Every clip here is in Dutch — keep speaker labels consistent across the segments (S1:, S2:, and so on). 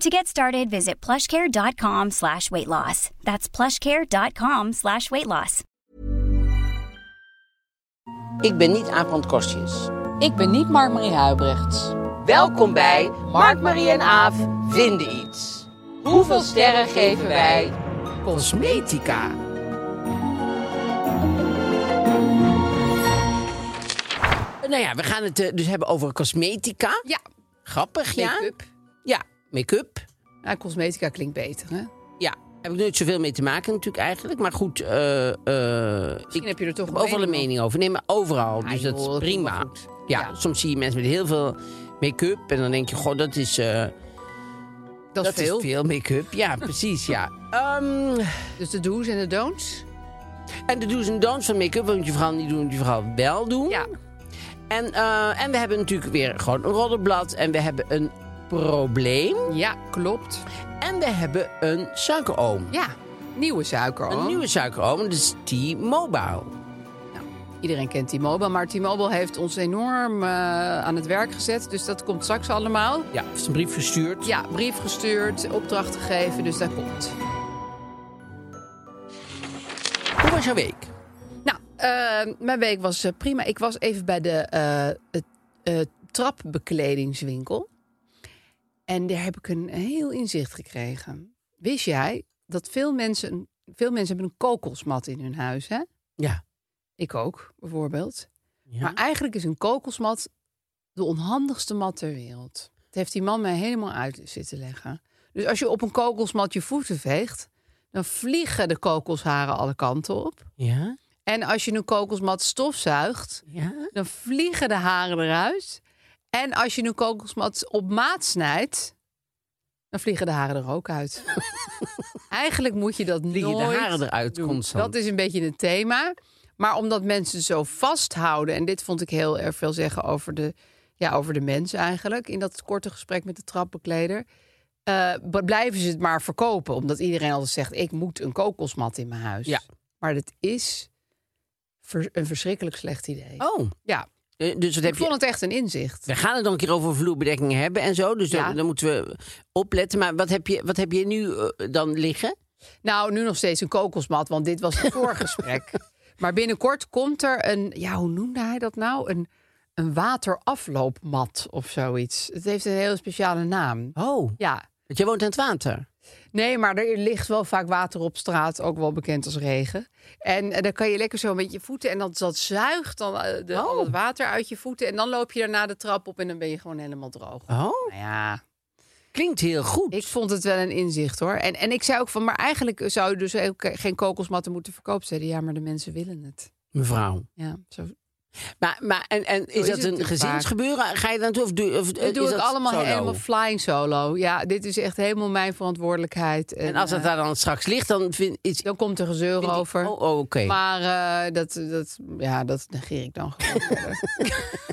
S1: To get started, visit plushcare.com slash weight loss. That's plushcare.com slash weight loss.
S2: Ik ben niet Aaf van het Kostjes.
S3: Ik ben niet Mark-Marie Huibrechts.
S2: Welkom bij Mark, Marie en Aaf vinden iets. Hoeveel sterren geven wij? Cosmetica. Nou ja, we gaan het eh, dus hebben over cosmetica.
S4: Ja,
S2: Grappig, ja.
S4: make-up.
S2: Ja, make-up.
S4: Nou, cosmetica klinkt beter, hè? Misschien
S2: Ja, heb ik nooit zoveel mee te maken natuurlijk eigenlijk. Maar goed, eh, eh, ik
S4: heb je er toch
S2: heb overal een mening over. Nee, maar overal.
S4: Ja,
S2: dus dat
S4: joh,
S2: is
S4: dat komt
S2: prima.
S4: wel goed.
S2: Ja,
S4: Ja.
S2: soms zie je mensen met heel veel make-up. En dan denk je, goh, dat is, eh,
S4: over. Dat is veel.
S2: make-up. Ja, precies, ja. Ehm,
S4: Dus de do's en de don'ts.
S2: en de do's en don'ts van make-up. Wat moet je vooral niet doen, wat moet je vooral wel doen.
S4: Ja.
S2: En, eh, en we hebben natuurlijk weer gewoon een roddelblad. En we hebben een probleem.
S4: Ja, klopt.
S2: En we hebben een suikeroom.
S4: Ja, nieuwe suiker.
S2: Een
S4: hoor.
S2: nieuwe suikeroom, dat is T-Mobile.
S4: Iedereen kent T-Mobile, maar T-Mobile heeft ons enorm eh, aan het werk gezet. Dus dat komt straks allemaal.
S2: Ja, is een brief verstuurd.
S4: Ja, brief gestuurd, opdracht gegeven, dus dat komt.
S2: Hoe was jouw week?
S4: Nou, eh, mijn week was eh, prima. Ik was even bij de eh, het, eh, trapbekledingswinkel. En daar heb ik een heel inzicht gekregen. Wist jij dat veel mensen, veel mensen hebben een kokosmat in hun huis, hè?
S2: Ja.
S4: Ik ook, bijvoorbeeld.
S2: Ja.
S4: Maar eigenlijk is een kokosmat de onhandigste mat ter wereld. Het heeft die man mij helemaal uit zitten leggen. Dus als je op een kokosmat je voeten veegt... dan vliegen de kokosharen alle kanten op.
S2: Ja?
S4: En als je een kokosmat stofzuigt,
S2: Ja?
S4: dan vliegen de haren eruit. En als je een kokosmat op maat snijdt, dan vliegen de haren er ook uit. Eigenlijk moet je dat
S2: Vliegen de
S4: nooit
S2: haren eruit
S4: doen.
S2: constant.
S4: Dat is een beetje het thema. Maar omdat mensen zo vasthouden, en dit vond ik heel erg veel zeggen over de, ja, over de mens eigenlijk, in dat korte gesprek met de trapbekleder, eh, b- blijven ze het maar verkopen. Omdat iedereen altijd zegt, ik moet een kokosmat in mijn huis.
S2: Ja.
S4: Maar dat is ver- een verschrikkelijk slecht idee.
S2: Oh,
S4: Ja,
S2: eh, dus wat heb
S4: ik vond
S2: je...
S4: het echt een inzicht.
S2: We gaan het dan een keer over vloerbedekking hebben en zo. Dus dan,
S4: Ja.
S2: dan moeten we opletten. Maar wat heb je, wat heb je nu eh, dan liggen?
S4: Nou, nu nog steeds een kokosmat, want dit was het voorgesprek. Maar binnenkort komt er een, ja, hoe noemde hij dat nou? Een, een waterafloopmat of zoiets. Het heeft een heel speciale naam.
S2: Oh.
S4: Ja,
S2: Want jij woont aan het water.
S4: nee, maar er ligt wel vaak water op straat, ook wel bekend als regen. En eh, dan kan je lekker zo met je voeten en dat, dat zuigt dan eh, de, al het water uit je voeten. En dan loop je daarna de trap op en dan ben je gewoon helemaal droog.
S2: Oh.
S4: Nou ja,
S2: Klinkt heel goed.
S4: Ik vond het wel een inzicht hoor. En, en ik zei ook van, maar eigenlijk zou je dus ook geen kokosmatten moeten verkopen. Zeiden ja, maar de mensen willen het.
S2: Mevrouw.
S4: Ja, zo.
S2: Eh, Maar, maar en, en is
S4: is
S2: dat
S4: het
S2: een
S4: natuurlijk
S2: gezinsgebeuren? Ga je dan toe? Of doe, of, eh,
S4: Dat
S2: is
S4: doe ik
S2: dat
S4: allemaal
S2: solo?
S4: helemaal flying solo. Ja, dit is echt helemaal mijn verantwoordelijkheid. En,
S2: En als dat
S4: eh,
S2: daar dan straks ligt, dan vind is
S4: dan komt er gezeur
S2: vind ik-
S4: over.
S2: Oh, oh, oké.
S4: Maar eh, dat, dat, ja, dat negeer ik dan gewoon. verder.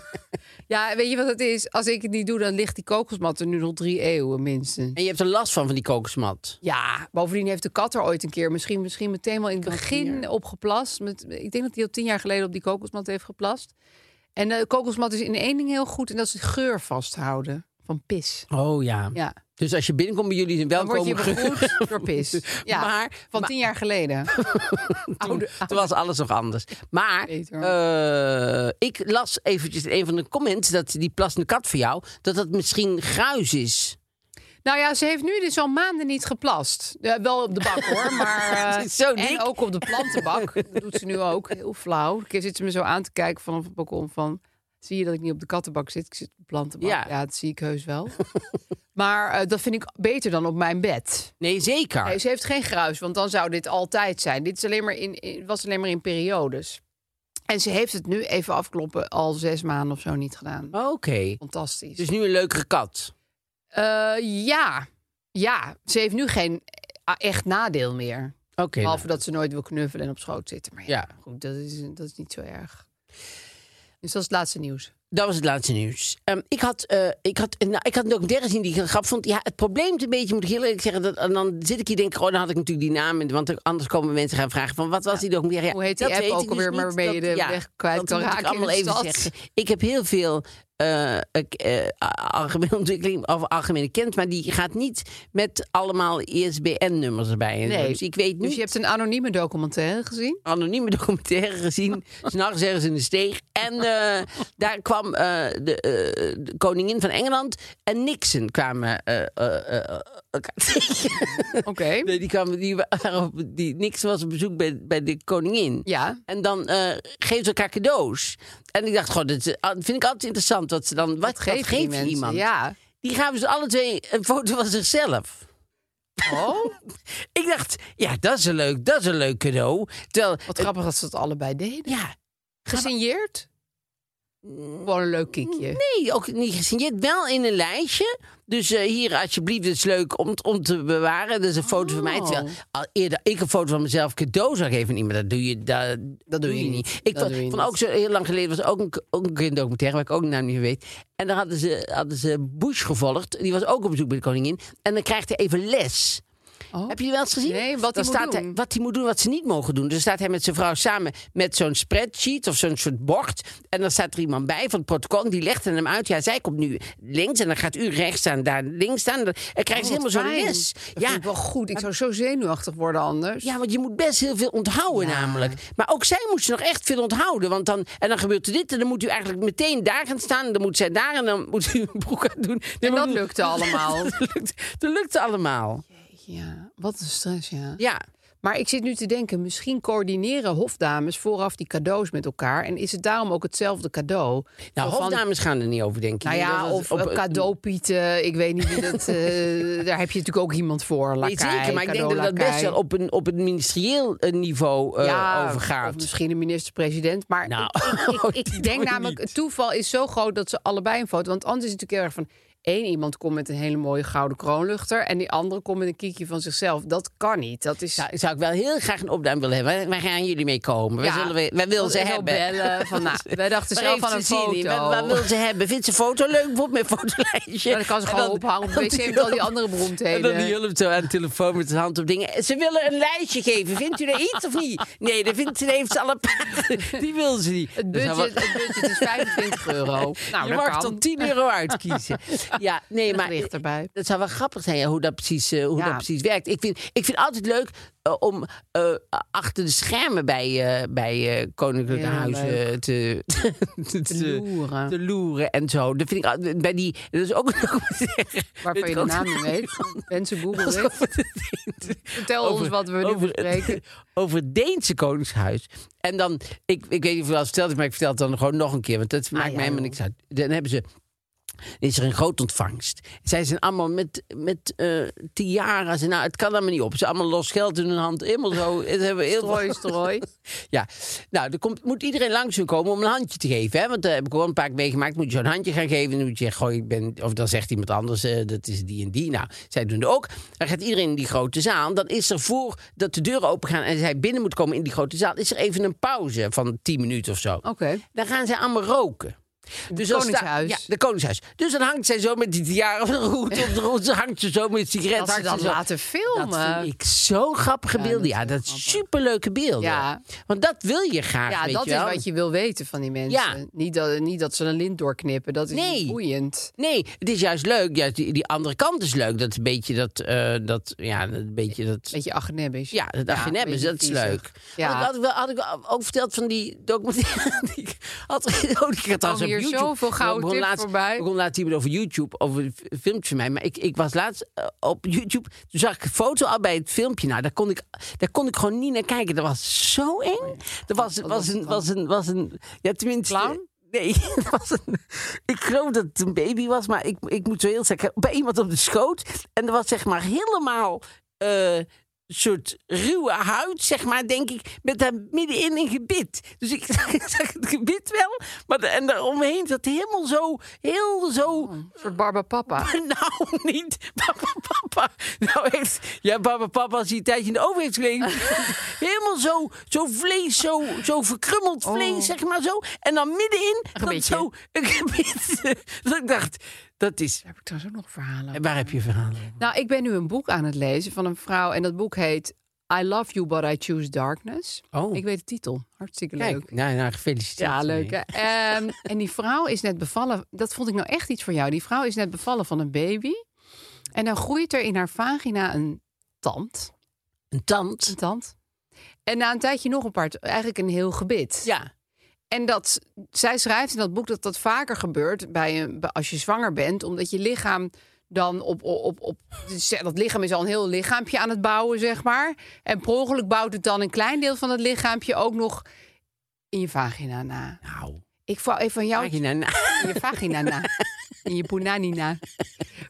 S4: ja, weet je wat het is? Als ik het niet doe, dan ligt die kokosmat er nu nog drie eeuwen minstens.
S2: En je hebt er last van, van die kokosmat.
S4: Ja, bovendien heeft de kat er ooit een keer, misschien, misschien meteen wel in het begin op geplast. Met, ik denk dat hij al tien jaar geleden op die kokosmat heeft geplast. En de kokosmat is in één ding heel goed en dat is de geur vasthouden van pis.
S2: Oh ja.
S4: Ja,
S2: Dus als je binnenkomt bij jullie, dan
S4: dan word je
S2: welkom.
S4: begroet door pis. Ja,
S2: Maar-
S4: van
S2: maar-
S4: tien jaar geleden. Oude-
S2: Toen was alles nog anders. Maar
S4: Beter.
S2: eh, ik las eventjes in een van de comments dat die plassende kat voor jou, dat dat misschien gruis is.
S4: Nou ja, ze heeft nu dus al maanden niet geplast. Ja, wel op de bak hoor, maar... eh,
S2: Zo dik.
S4: en ook op de plantenbak. Dat doet ze nu ook. Heel flauw. Een keer zit ze me zo aan te kijken vanaf het balkon van... Zie je dat ik niet op de kattenbak zit? Ik zit op de plantenbak.
S2: Ja.
S4: Ja, dat zie ik heus wel. maar eh, dat vind ik beter dan op mijn bed.
S2: Nee, zeker.
S4: Nee, ze heeft geen gruis, want dan zou dit altijd zijn. Dit is alleen maar in, in- was alleen maar in periodes. En ze heeft het nu even afkloppen al zes maanden of zo niet gedaan.
S2: Oké.
S4: Fantastisch.
S2: Oh. Dus nu een leukere kat.
S4: Eh, ja. ja, ze heeft nu geen eh, echt nadeel meer.
S2: Oké. nou.
S4: Behalve dat ze nooit wil knuffelen en op schoot zitten. Maar ja,
S2: Ja.
S4: goed, dat is, dat is niet zo erg. Dus dat is het laatste nieuws.
S2: Dat was het laatste nieuws. Ehm, ik, had, eh, ik, had, nou, ik had een documentaire gezien die ik een grap vond. Ja, het probleem is een beetje, moet ik heel eerlijk zeggen... Dat, en dan zit ik hier denk ik, oh, dan had ik natuurlijk die naam... in, Want anders komen mensen gaan vragen van, wat was die documentaire? Ja,
S4: Hoe heet die
S2: dat
S4: app
S2: weet
S4: ook
S2: ik
S4: alweer
S2: niet.
S4: waarmee je
S2: Dat-
S4: de weg
S2: dat
S4: kwijt kan
S2: moet ik
S4: raken in
S2: allemaal
S4: de
S2: even
S4: stad?
S2: zeggen. Ik heb heel veel eh, ik, eh, algemene ontwikkeling of algemene kennis... maar die gaat niet met allemaal ISBN-nummers erbij. en zo.
S4: Nee.
S2: Dus ik weet niet
S4: Dus je hebt een anonieme documentaire gezien?
S2: anonieme documentaire gezien. S'nachts ergens in de steeg. En eh, daar kwam eh, de, eh, de koningin van Engeland en Nixon kwamen eh, eh, eh, elkaar tegen.
S4: Oké.
S2: Nee, die, kwamen, die, waren op, die Nixon was op bezoek bij, bij de koningin.
S4: Ja.
S2: En dan eh geven ze elkaar cadeaus. En ik dacht, goh, dat is- ah, vind ik altijd interessant. Wat ze dan, wat, wat
S4: geven
S2: geeft,
S4: die
S2: je
S4: mensen?
S2: iemand?
S4: Ja.
S2: Die gaven ze alle twee een foto van zichzelf.
S4: Oh,
S2: Ik dacht, ja, dat is een leuk, dat is een leuk cadeau. Terwijl,
S4: wat grappig dat ze dat allebei deden.
S2: ja,
S4: Gesigneerd? Gewoon een leuk kiekje.
S2: Nee, ook niet gesigneerd. Wel in een lijstje. Dus eh, hier, alsjeblieft, het is leuk om, t- om te bewaren. Dat is een foto van mij.
S4: Oh.
S2: Terwijl al eerder ik een foto van mezelf cadeau zou geven aan iemand. Dat doe je, dat, dat doe je niet. Ik
S4: Dat
S2: vond,
S4: doe je
S2: vond
S4: niet.
S2: ook zo heel lang geleden was er ook een, ook een kinderdocumentaire, waar ik ook de naam niet meer weet. En dan hadden ze, hadden ze Bush gevolgd. Die was ook op bezoek bij de koningin. En dan krijgt hij even les.
S4: Oh.
S2: Heb je wel eens gezien?
S4: Nee, wat
S2: dan
S4: hij moet
S2: staat Hij,
S4: doen.
S2: wat hij moet doen, wat ze niet mogen doen. Dus staat hij met zijn vrouw samen met zo'n spreadsheet of zo'n soort bord. En dan staat er iemand bij van het protocol. en Die legt hem uit. Ja, zij komt nu links en dan gaat u rechts staan, daar links staan. En dan krijgt ze
S4: Oh, wat
S2: helemaal zo'n
S4: fijn.
S2: les.
S4: Dat vind ik wel goed. Ik zou zo zenuwachtig worden anders.
S2: Ja, want je moet best heel veel onthouden namelijk. Maar ook zij moest nog echt veel onthouden. Want dan, en dan gebeurt er dit en dan moet u eigenlijk meteen daar gaan staan. En dan moet zij daar en dan moet u een broek aan doen. Nee,
S4: En
S2: maar-
S4: dat lukte allemaal.
S2: dat lukt, dat lukt allemaal.
S4: Ja, wat een stress, ja.
S2: Ja.
S4: Maar ik zit nu te denken, misschien coördineren hofdames vooraf die cadeaus met elkaar. En is het daarom ook hetzelfde cadeau?
S2: Nou,
S4: Zo van,
S2: hofdames gaan er niet over, denk ik.
S4: Nou
S2: Dat
S4: ja,
S2: het
S4: of op, cadeaupieten, ik weet niet wie dat... eh, daar heb je natuurlijk ook iemand voor,
S2: Nee,
S4: lakai,
S2: zeker, maar ik denk dat dat
S4: cadeaulakai.
S2: best wel op een, op een ministerieel eh, niveau eh,
S4: ja,
S2: overgaat.
S4: Of misschien de minister-president. Maar
S2: Nou,
S4: ik, ik, ik,
S2: die
S4: denk
S2: doe je
S4: namelijk,
S2: niet.
S4: het toeval is zo groot dat ze allebei een foto... Want anders is het natuurlijk heel erg van... één iemand komt met een hele mooie gouden kroonluchter... en die andere komt met een kiekje van zichzelf. Dat kan niet. Dat is...
S2: Nou, zou ik wel heel graag een opduim willen hebben. Wij- Wij gaan jullie mee komen. Wij,
S4: Ja.
S2: zullen we, wij willen
S4: Want
S2: ze
S4: ik wil
S2: hebben.
S4: bellen van, nou, wij dachten
S2: Waar
S4: zelf
S2: heeft
S4: aan
S2: ze
S4: een
S2: zin in?
S4: foto.
S2: Wat, wat wil ze hebben? Vindt ze foto leuk? Bijvoorbeeld mijn fotolijstje.
S4: Ja, dan kan ze
S2: En
S4: gewoon ophangen op de
S2: en
S4: wc met al die andere
S2: En dan die
S4: beroemdheden.
S2: hulp zo aan de telefoon met zijn hand op dingen. Ze willen een lijstje geven. Vindt u er iets of niet? Nee, dat vindt, dat heeft ze alle Die wil ze niet.
S4: Het
S2: Dat zou
S4: budget,
S2: wel-
S4: het budget is 25 euro. Nou,
S2: Dus je
S4: dat
S2: mag
S4: kan.
S2: tot 10 euro uitkiezen. ja, nee,
S4: Een
S2: maar
S4: gewicht erbij.
S2: dat zou wel grappig zijn ja, hoe dat precies, eh, hoe
S4: Ja.
S2: dat precies werkt. Ik vind, ik vind altijd leuk eh, om eh, achter de schermen bij, eh, bij eh, Koninklijke
S4: Ja,
S2: Huizen te, te, te-
S4: loeren.
S2: te loeren en zo. Dat vind ik altijd- bij die, dat is ook een documentaire.
S4: Waarvan je de naam niet weet. Mensen googelen het. Vertel ons wat we nu bespreken.
S2: Over het Deense Koningshuis. En dan, ik, ik weet niet of ik het al verteld heb, maar ik vertel het dan gewoon nog een keer. Want dat
S4: Ah,
S2: maakt mij helemaal niks uit. Dan hebben ze is er een groot ontvangst. Zij zijn allemaal met, met eh, tiara's. En nou, het kan allemaal niet op. Ze hebben allemaal los geld in hun hand. Helemaal zo. Het hebben heel
S4: Strooi, strooi.
S2: Ja, nou, er komt, moet iedereen langs hun komen om een handje te geven. Hè? Want daar heb ik gewoon een paar keer meegemaakt. Moet je zo'n handje gaan geven. Dan moet je zeggen, goh, ik ben... Of dan zegt iemand anders, eh, dat is die en die. Nou, zij doen het ook. Dan gaat iedereen in die grote zaal. Dan is er voor dat de deuren open gaan en zij binnen moet komen in die grote zaal... is er even een pauze van 10 minuten of zo.
S4: Oké.
S2: Dan gaan zij allemaal roken. Dus dan sta-
S4: Koningshuis.
S2: ja, de Koningshuis. Dus dan hangt zij zo met die tiara op de roet op de roet. Ze hangt ze zo met sigaret.
S4: Dat ze
S2: hangt
S4: dat
S2: zo.
S4: laten filmen.
S2: Dat vind ik zo'n grappige beelden. Ja, dat is superleuke beelden.
S4: Ja.
S2: Want dat wil je graag,
S4: Ja,
S2: weet
S4: dat
S2: je
S4: is
S2: wel.
S4: wat je wil weten van die mensen.
S2: Ja.
S4: Niet, dat, niet dat ze een lint doorknippen. Dat is
S2: Nee.
S4: niet boeiend.
S2: Nee, het is juist leuk. Juist die, die andere kant is leuk. Dat een beetje dat... eh, dat ja, een beetje dat...
S4: Beetje agnebisch.
S2: Ja, dat dacht je
S4: een
S2: nebben,
S4: beetje
S2: dat is
S4: viezig.
S2: leuk.
S4: Ja.
S2: Had, ik, wel- had ik wel ook verteld van die documentaire. die ik had, oh, die ik had trouwens
S4: Koningin hier
S2: YouTube.
S4: zoveel gouden
S2: Ik begon
S4: tips
S2: laatst-
S4: voorbij.
S2: Ik begon laatst iemand over YouTube, over een f- filmpje van mij. Maar ik, ik was laatst eh, op YouTube, toen zag ik een foto al bij het filmpje. Nou, daar kon ik, daar kon ik gewoon niet naar kijken. Dat was zo eng. Dat was, Oh was, een, was, een, was een... Ja, tenminste...
S4: Clown?
S2: Nee, dat was een, ik geloof dat het een baby was, maar ik, ik moet zo heel zeggen, bij iemand op de schoot. En er was zeg maar helemaal eh, soort ruwe huid, zeg maar, denk ik, met daar middenin een gebit. Dus ik zag, ik zag het gebit wel, maar de- en daaromheen zat helemaal zo, heel zo...
S4: Een soort Barbapapa.
S2: Nou, niet Baba Papa. Nou, echt. Ja, Baba Papa, als hij een tijdje in de oven heeft gelegen. Helemaal zo, zo vlees, zo, zo verkrummeld
S4: Oh.
S2: vlees, zeg maar zo. En dan middenin, dat
S4: beetje.
S2: zo een gebit. Dat ik dacht, dat is...
S4: Heb ik trouwens ook nog verhalen?
S2: Waar heb je verhalen?
S4: Nou, ik ben nu een boek aan het lezen van een vrouw. En dat boek heet I Love You But I Choose Darkness.
S2: Oh.
S4: Ik weet de titel. Hartstikke leuk.
S2: Kijk, nou, nou gefeliciteerd.
S4: Ja,
S2: ermee.
S4: leuk. hè? Ehm, en die vrouw is net bevallen. Dat vond ik nou echt iets voor jou. Die vrouw is net bevallen van een baby. En dan groeit er in haar vagina een tand.
S2: Een tand.
S4: Een tand. En na een tijdje nog een paar, eigenlijk een heel gebit.
S2: Ja.
S4: En dat, zij schrijft in dat boek dat dat vaker gebeurt bij een, bij- als je zwanger bent, omdat je lichaam dan op, op, op, op. dus Dat lichaam is al een heel lichaampje aan het bouwen, zeg maar. En per ongeluk bouwt het dan een klein deel van dat lichaampje ook nog in je vagina na.
S2: Nou,
S4: Ik vou even van jou.
S2: vagina na.
S4: In je vagina na. In je punani na.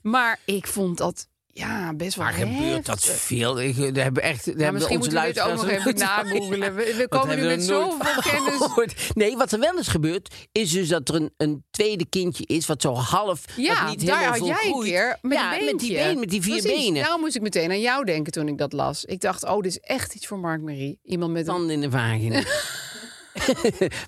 S4: Maar ik vond dat ja, best wel.
S2: Maar gebeurt dat
S4: heftig.
S2: veel? Ik, eh, daar hebben echt, daar
S4: Ja,
S2: hebben
S4: misschien
S2: onze
S4: moeten we dit ook nog
S2: luisteraars
S4: even
S2: nooit-
S4: nagoogelen. We, we
S2: Want
S4: komen nu
S2: hebben we
S4: met
S2: nooit
S4: zoveel
S2: van
S4: kennis.
S2: gehoord. Nee, wat er wel eens gebeurt, is dus dat er een, een tweede kindje is... wat zo half,
S4: Ja,
S2: wat niet
S4: daar
S2: helemaal
S4: had jij een
S2: volgroeid.
S4: keer met
S2: ja,
S4: een
S2: met die
S4: beentje.
S2: been, met die vier
S4: Precies, Nou-
S2: benen.
S4: Daarom moest ik meteen aan jou denken toen ik dat las. Ik dacht, oh, dit is echt iets voor Mark Marie. Iemand met een...
S2: Tanden in de vagina.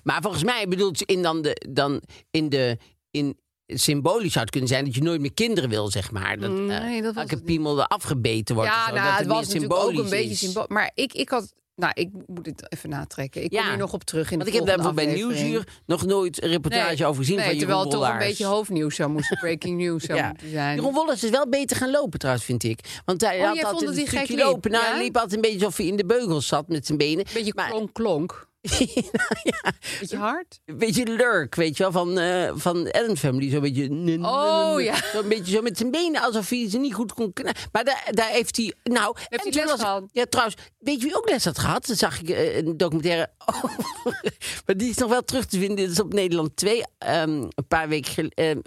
S2: maar volgens mij bedoelt ze in dan de... Dan in de in, symbolisch zou het kunnen zijn dat je nooit meer kinderen wil, zeg maar. Dat, eh,
S4: Nee, dat was
S2: elke
S4: het niet.
S2: piemel er afgebeten wordt. of
S4: Ja,
S2: zo,
S4: nou,
S2: dus dat
S4: het was
S2: meer
S4: natuurlijk ook een
S2: symbolisch
S4: beetje
S2: is.
S4: symbolisch. Maar ik, ik had... Nou, ik moet dit even natrekken. Ik
S2: Ja.
S4: kom hier nog op terug in
S2: Want ik
S4: de
S2: heb daarvoor
S4: volgende
S2: bij
S4: aflevering.
S2: Nieuwsuur nog nooit een reportage
S4: Nee,
S2: over gezien
S4: nee,
S2: van Jeroen
S4: terwijl het toch een
S2: Wollaars.
S4: beetje hoofdnieuws zou moeten, breaking news zou moeten zijn.
S2: Jeroen Wollers is wel beter gaan lopen trouwens, vind ik. Want hij
S4: Oh,
S2: had
S4: jij vond
S2: altijd
S4: dat
S2: een
S4: hij gek
S2: stukje
S4: liep,
S2: lopen. Nou,
S4: ja?
S2: hij liep altijd een beetje alsof hij in de beugels zat met zijn benen.
S4: beetje
S2: maar,
S4: klonk, klonk.
S2: ja,
S4: Beetje hard.
S2: een beetje lurk, weet je wel, van, eh van Adam Family. Zo'n beetje...
S4: Oh, ja.
S2: Zo'n beetje zo met zijn benen, alsof hij ze niet goed kon kna- Maar daar, daar heeft hij... Nou, en
S4: hij
S2: toen
S4: les
S2: was-
S4: gehad?
S2: Ja, trouwens, weet je wie ook les had gehad? Dat zag ik eh, een documentaire over. maar die is nog wel terug te vinden. Dit is op Nederland 2. ehm, een paar weken geleden...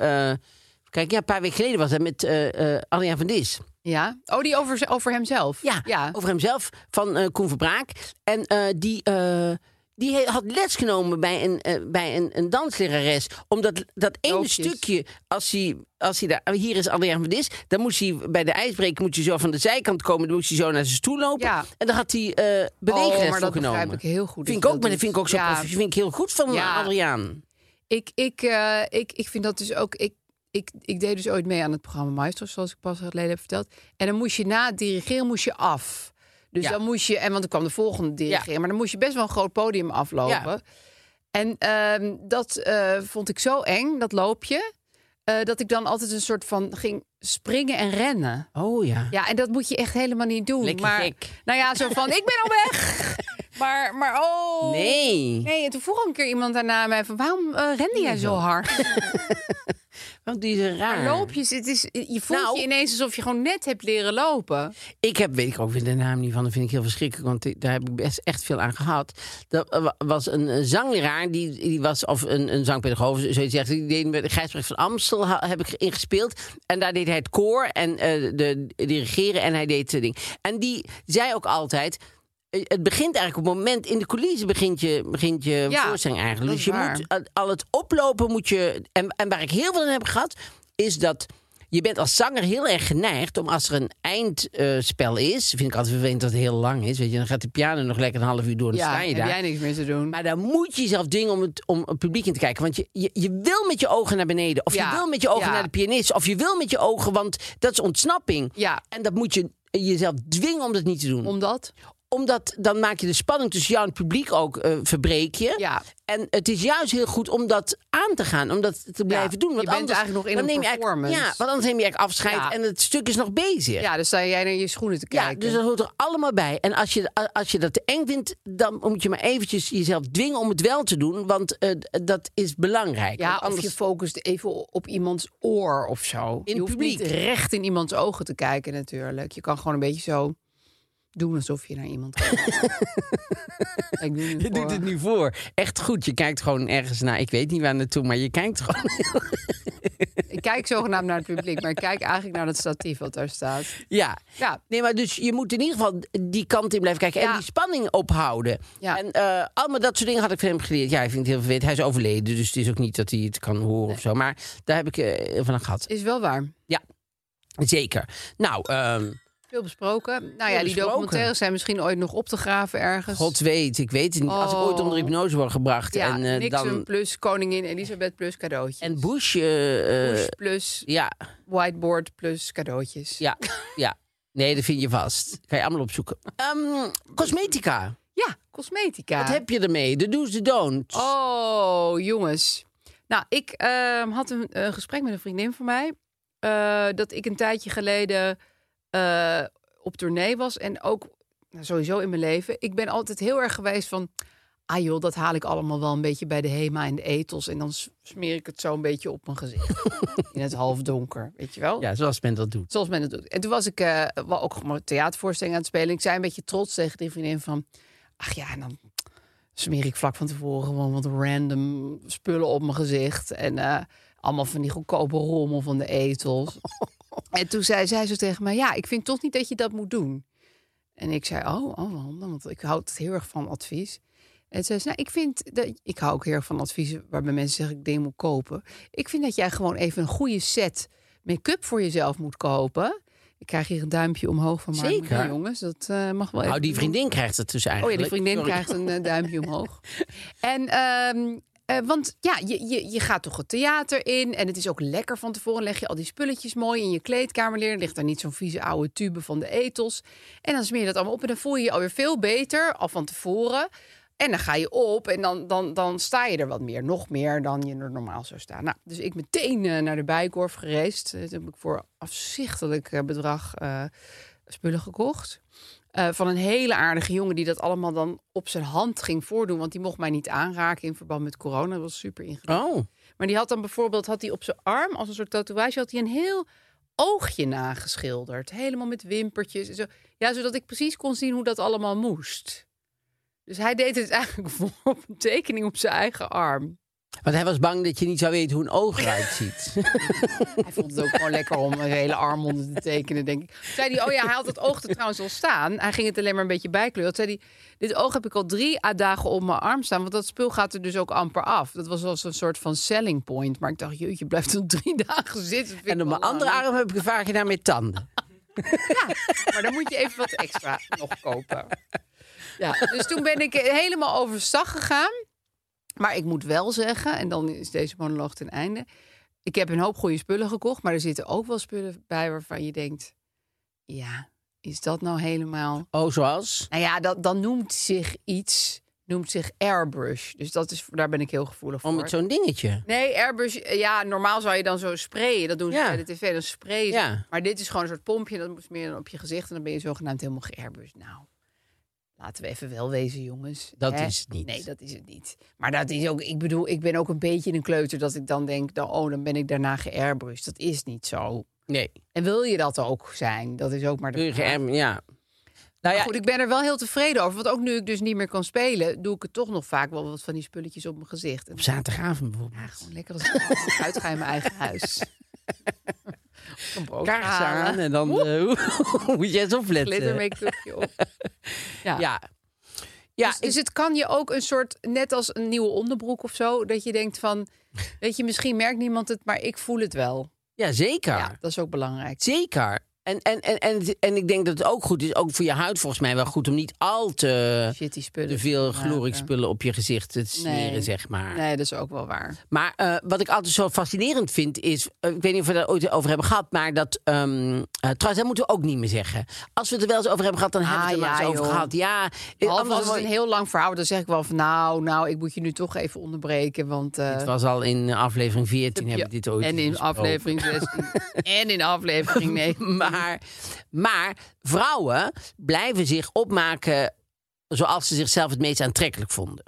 S2: Kijk, ja, een paar weken geleden was hij met eh eh Adriaan van Dis.
S4: Ja. Oh, die over, over hemzelf.
S2: Ja,
S4: ja.
S2: over hemzelf van eh Koen Verbraak. En eh, die, eh, die he- had les genomen bij een, eh, bij een, een danslerares. Omdat dat ene
S4: Loopjes.
S2: stukje, als hij, als hij daar, hier is Adriaan van Dis, dan moest hij bij de ijsbreker moet je zo van de zijkant komen, dan moest hij zo naar zijn stoel lopen.
S4: Ja.
S2: En dan had hij eh beweegles
S4: Oh, maar dat
S2: voor genomen.
S4: begrijp ik heel goed dat
S2: Vind ik
S4: je
S2: ook,
S4: dat
S2: maar dat
S4: doet.
S2: vind ik ook zo
S4: Ja.
S2: professioneel. Vind ik heel goed van eh,
S4: Ja.
S2: Adriaan.
S4: Ik, ik, eh, ik, ik vind dat dus ook. Ik, ik, ik deed dus ooit mee aan het programma Maestros, zoals ik pas geleden heb verteld. En dan moest je na het dirigeren moest je af. Dus
S2: Ja.
S4: dan moest je, en want er kwam de volgende dirigeren, maar dan moest je best wel een groot podium
S2: Ja.
S4: aflopen. En ehm, dat eh, vond ik zo eng, dat loopje, eh, dat ik dan altijd een soort van ging springen en rennen.
S2: Oh ja.
S4: Ja, en dat moet je echt helemaal niet doen.
S2: Lekker
S4: maar,
S2: gek.
S4: Nou ja, zo van, ik ben al weg. Maar, maar oh.
S2: Nee.
S4: Nee, en toen vroeg een keer iemand daarna mij van... waarom eh, rende jij zo hard?
S2: Want die is raar.
S4: Loopjes, het is, je voelt
S2: Nou.
S4: je ineens alsof je gewoon net hebt leren lopen.
S2: Ik heb, weet ik ook weer de naam niet van, dat vind ik heel verschrikkelijk, want die- daar heb ik best echt veel aan gehad. Dat eh, wa- was een, eh, zangleraar, die, die was, of een, een zangpedagoog, zo- zoiets zegt, die deed met de Gijsbrecht van Amstel, ha- heb ik ingespeeld. En daar deed hij het koor en eh, de, dirigeren en hij deed het ding. En die zei ook altijd, eh, het begint eigenlijk op het moment, in de coulissen begint je, begint je
S4: Ja,
S2: voorstelling eigenlijk. Dus
S4: dat is
S2: je
S4: waar.
S2: moet eh, al het oplopen moet je. En, en waar ik heel veel aan heb gehad, is dat. Je bent als zanger heel erg geneigd om als er een eindspel is. Vind ik altijd vervelend dat het heel lang is. Weet je, dan gaat de piano nog lekker een half uur door. Dan
S4: ja,
S2: sta je
S4: heb
S2: daar.
S4: jij niks meer te doen.
S2: Maar dan moet je jezelf dingen om het, om het publiek in te kijken. Want je, je, je wil met je ogen naar beneden. Of
S4: Ja,
S2: je wil met je ogen
S4: ja.
S2: naar de pianist. Of je wil met je ogen, want dat is ontsnapping.
S4: Ja.
S2: En dat moet je jezelf dwingen om dat niet te doen.
S4: Omdat?
S2: omdat dan maak je de spanning tussen jou en het publiek ook eh verbreek je.
S4: Ja.
S2: En het is juist heel goed om dat aan te gaan, om dat te blijven doen. Want
S4: je bent
S2: anders,
S4: eigenlijk nog in
S2: dan
S4: een
S2: neem je eigenlijk-
S4: performance.
S2: Ja, want anders neem je eigenlijk afscheid
S4: Ja.
S2: en het stuk is nog bezig.
S4: Ja, dan sta jij naar je schoenen te kijken.
S2: Ja, dus dat hoort er allemaal bij. En als je, als je dat te eng vindt, dan moet je maar eventjes jezelf dwingen om het wel te doen. Want eh, dat is belangrijk.
S4: Ja,
S2: Want
S4: of je focust even op iemands oor of zo.
S2: het
S4: je hoeft
S2: publiek.
S4: niet recht in iemands ogen te kijken natuurlijk. Je kan gewoon een beetje zo doen alsof je naar iemand kijkt. Ik doe nu
S2: Je doet
S4: voor-
S2: het nu voor. Echt goed. Je kijkt gewoon ergens naar. Ik weet niet waar naartoe, maar je kijkt gewoon.
S4: Ik kijk zogenaamd naar het publiek, maar ik kijk eigenlijk naar dat statief wat daar staat.
S2: ja.
S4: Ja.
S2: Nee, maar dus je moet in ieder geval die kant in blijven kijken. En
S4: Ja.
S2: die spanning ophouden.
S4: Ja.
S2: En eh, allemaal dat soort dingen had ik van hem geleerd. Ja, ik vind het heel vervelend. Hij is overleden, dus het is ook niet dat hij het kan horen of zo. Maar daar heb ik eh, heel van aan gehad.
S4: Is wel waar.
S2: Ja, zeker. Nou, ehm
S4: Veel besproken. Nou ja,
S2: Veel
S4: die
S2: besproken.
S4: documentaires zijn misschien ooit nog op te graven ergens.
S2: God weet, ik weet het niet. Als ik
S4: Dus- Oh.
S2: ooit onder hypnose word gebracht
S4: ja,
S2: en eh,
S4: Nixon
S2: dan.
S4: plus koningin Elisabeth plus cadeautjes.
S2: En Bush. eh, eh,
S4: Bush plus
S2: ja,
S4: whiteboard plus cadeautjes.
S2: ja, ja. Nee, dat vind je vast. Kan je allemaal opzoeken. Ehm, cosmetica.
S4: Ja, cosmetica.
S2: Wat heb je ermee? De do's, de don'ts.
S4: Oh, jongens. Nou, ik ehm, had een, een gesprek met een vriendin van mij. eh, dat ik een tijdje geleden eh, op tournee was. En ook nou, sowieso in mijn leven. Ik ben altijd heel erg geweest van... Ah joh, dat haal ik allemaal wel een beetje bij de Hema en de Ethos. En dan s- smeer ik het zo een beetje op mijn gezicht. in het halfdonker, weet je wel?
S2: Ja, zoals men dat doet.
S4: Zoals men dat doet. En toen was ik eh, wel ook gewoon een theatervoorstelling aan het spelen. Ik zei een beetje trots tegen die vriendin van... Ach ja, en dan smeer ik vlak van tevoren gewoon wat random spullen op mijn gezicht. En eh, allemaal van die goedkope rommel van de etels. en toen zei zij zo tegen mij... Ja, ik vind toch niet dat je dat moet doen. En ik zei, oh, oh waarom dan? Want ik hou het heel erg van advies. En zei ze, nou, ik vind dat ik hou ook heel erg van adviezen waarbij mensen zeggen ik dingen moet kopen. Ik vind dat jij gewoon even een goede set make-up voor jezelf moet kopen. Ik krijg hier een duimpje omhoog van Mark.
S2: Zeker.
S4: Ja, jongens, dat eh, mag wel.
S2: Nou,
S4: even
S2: die vriendin krijgt het dus
S4: Oh ja,
S2: eigenlijk.
S4: die vriendin
S2: Sorry.
S4: krijgt een eh, duimpje omhoog. En, ehm, eh, want ja, je, je, je gaat toch het theater in. En het is ook lekker van tevoren. Leg je al die spulletjes mooi in je kleedkamer neer. Dan Ligt daar niet zo'n vieze oude tube van de etels. En dan smeer je dat allemaal op. En dan voel je je alweer veel beter, al van tevoren. En dan ga je op en dan, dan, dan sta je er wat meer. Nog meer dan je er normaal zou staan. Nou, dus ik meteen eh, naar de Bijenkorf gereisd. Eh, Toen heb ik voor afzichtelijk eh, bedrag eh, spullen gekocht. Eh, van een hele aardige jongen die dat allemaal dan op zijn hand ging voordoen. Want die mocht mij niet aanraken in verband met corona. Dat was super ingewikkeld.
S2: Oh,
S4: Maar die had dan bijvoorbeeld had hij op zijn arm als een soort tatoeage had hij een heel oogje nageschilderd. Helemaal met wimpertjes en zo. Ja, zodat ik precies kon zien hoe dat allemaal moest. Dus hij deed het eigenlijk voor op een tekening op zijn eigen arm.
S2: want hij was bang dat je niet zou weten hoe een oog eruit ziet.
S4: Hij vond het ook gewoon lekker om een hele arm onder te tekenen, denk ik. Toen Zei hij, oh ja, hij had het oog er trouwens al staan. Hij ging het alleen maar een beetje bijkleuren. Toen zei hij, dit oog heb ik al drie à dagen op mijn arm staan. Want dat spul gaat er dus ook amper af. Dat was als een soort van selling point. Maar ik dacht, jeetje, blijft er drie dagen zitten. Vind ik
S2: en op mijn
S4: wel
S2: andere
S4: lang.
S2: arm heb ik een vagina met tanden.
S4: Maar dan moet je even wat extra nog kopen. Ja, dus toen ben ik helemaal overstag gegaan. Maar ik moet wel zeggen, en dan is deze monoloog ten einde. Ik heb een hoop goede spullen gekocht, maar er zitten ook wel spullen bij waarvan je denkt: ja, is dat nou helemaal.
S2: Oh, zoals?
S4: Nou ja, dat, dan noemt zich iets, noemt zich airbrush. Dus dat is, daar ben ik heel gevoelig voor.
S2: Oh, met zo'n dingetje.
S4: Nee, airbrush, eh, ja, normaal zou je dan zo sprayen. Dat doen ze
S2: Ja.
S4: bij de tv, dan sprayen ze.
S2: Ja.
S4: Maar dit is gewoon een soort pompje, dat moet meer dan op je gezicht... en dan ben je zogenaamd helemaal geairbrush. Nou, laten we even wel wezen, jongens.
S2: Dat
S4: Hè?
S2: is het niet.
S4: Nee, dat is het niet. Maar dat is ook, ik bedoel, ik ben ook een beetje een kleuter... dat ik dan denk, dan, oh, dan ben ik daarna geairbrush. Dat is niet zo.
S2: Nee.
S4: En wil je dat ook zijn? Dat is ook maar de
S2: Doe je
S4: vraag.
S2: geen- Ja. Nou
S4: Maar
S2: ja,
S4: goed, ik ben er wel heel tevreden over. Want ook nu ik dus niet meer kan spelen, doe ik het toch nog vaak wel wat van die spulletjes op mijn gezicht. En
S2: op zaterdagavond bijvoorbeeld.
S4: ja, gewoon lekker als ik uitga in mijn eigen huis. Een brood
S2: Kaars
S4: halen,
S2: aan en dan eh, moet je eens
S4: glitter
S2: opletten.
S4: make-upje op. Ja.
S2: Ja. Ja,
S4: dus, dus het kan je ook een soort, net als een nieuwe onderbroek of zo, dat je denkt van, weet je, misschien merkt niemand het, maar ik voel het wel.
S2: ja, zeker.
S4: Ja, dat is ook belangrijk.
S2: Zeker. En, en, en, en, en ik denk dat het ook goed is, ook voor je huid volgens mij wel goed, om niet al te,
S4: Shitty spullen.
S2: te veel
S4: maken.
S2: glorikspullen op je gezicht te smeren, zeg maar.
S4: Nee, dat is ook wel waar.
S2: Maar eh, wat ik altijd zo fascinerend vind is, eh, ik weet niet of we daar ooit over hebben gehad, maar dat, ehm, eh, trouwens, dat moeten we ook niet meer zeggen. Als we het er wel eens over hebben gehad, dan hebben we het er
S4: Ah,
S2: maar
S4: ja,
S2: eens over
S4: joh.
S2: gehad. Ja, eh,
S4: Behalve
S2: anders
S4: als het een
S2: wordt-
S4: heel lang verhaal wordt, dan zeg ik wel van nou, nou, ik moet je nu toch even onderbreken. Want, eh,
S2: Het was al in aflevering 14 heb
S4: ja,
S2: ik dit ooit
S4: en in
S2: besproken.
S4: aflevering 16. en in aflevering 9.
S2: Maar, maar vrouwen blijven zich opmaken zoals ze zichzelf het meest aantrekkelijk vonden.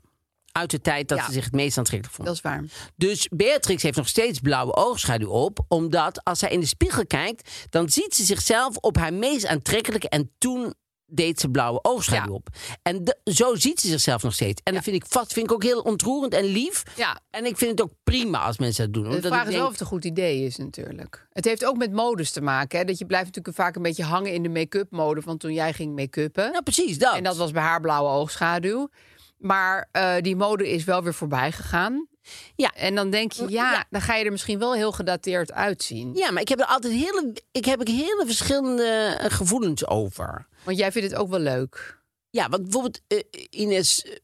S2: Uit de tijd dat
S4: Ja.
S2: ze zich het meest aantrekkelijk vonden.
S4: Dat is waar.
S2: Dus Beatrix heeft nog steeds blauwe oogschaduw op, omdat als zij in de spiegel kijkt, dan ziet ze zichzelf op haar meest aantrekkelijke en toen deed ze blauwe oogschaduw
S4: Ja.
S2: op. En d- zo ziet ze zichzelf nog steeds. En dat vind ik vast vind ik ook heel ontroerend en lief.
S4: Ja.
S2: En ik vind het ook prima als mensen dat doen.
S4: De
S2: omdat
S4: vraag
S2: ik
S4: is
S2: denk-
S4: wel of het een goed idee is natuurlijk. Het heeft ook met modes te maken. Hè? Dat je blijft natuurlijk vaak een beetje hangen in de make-up mode van toen jij ging make-uppen.
S2: Nou, precies dat.
S4: En dat was bij haar blauwe oogschaduw. Maar eh, die mode is wel weer voorbij gegaan.
S2: Ja.
S4: En dan denk je, ja, dan ga je er misschien wel heel gedateerd uitzien.
S2: Ja, maar ik heb er altijd hele, ik heb er hele verschillende eh, gevoelens over.
S4: Want jij vindt het ook wel leuk.
S2: Ja, want bijvoorbeeld eh, Ines eh,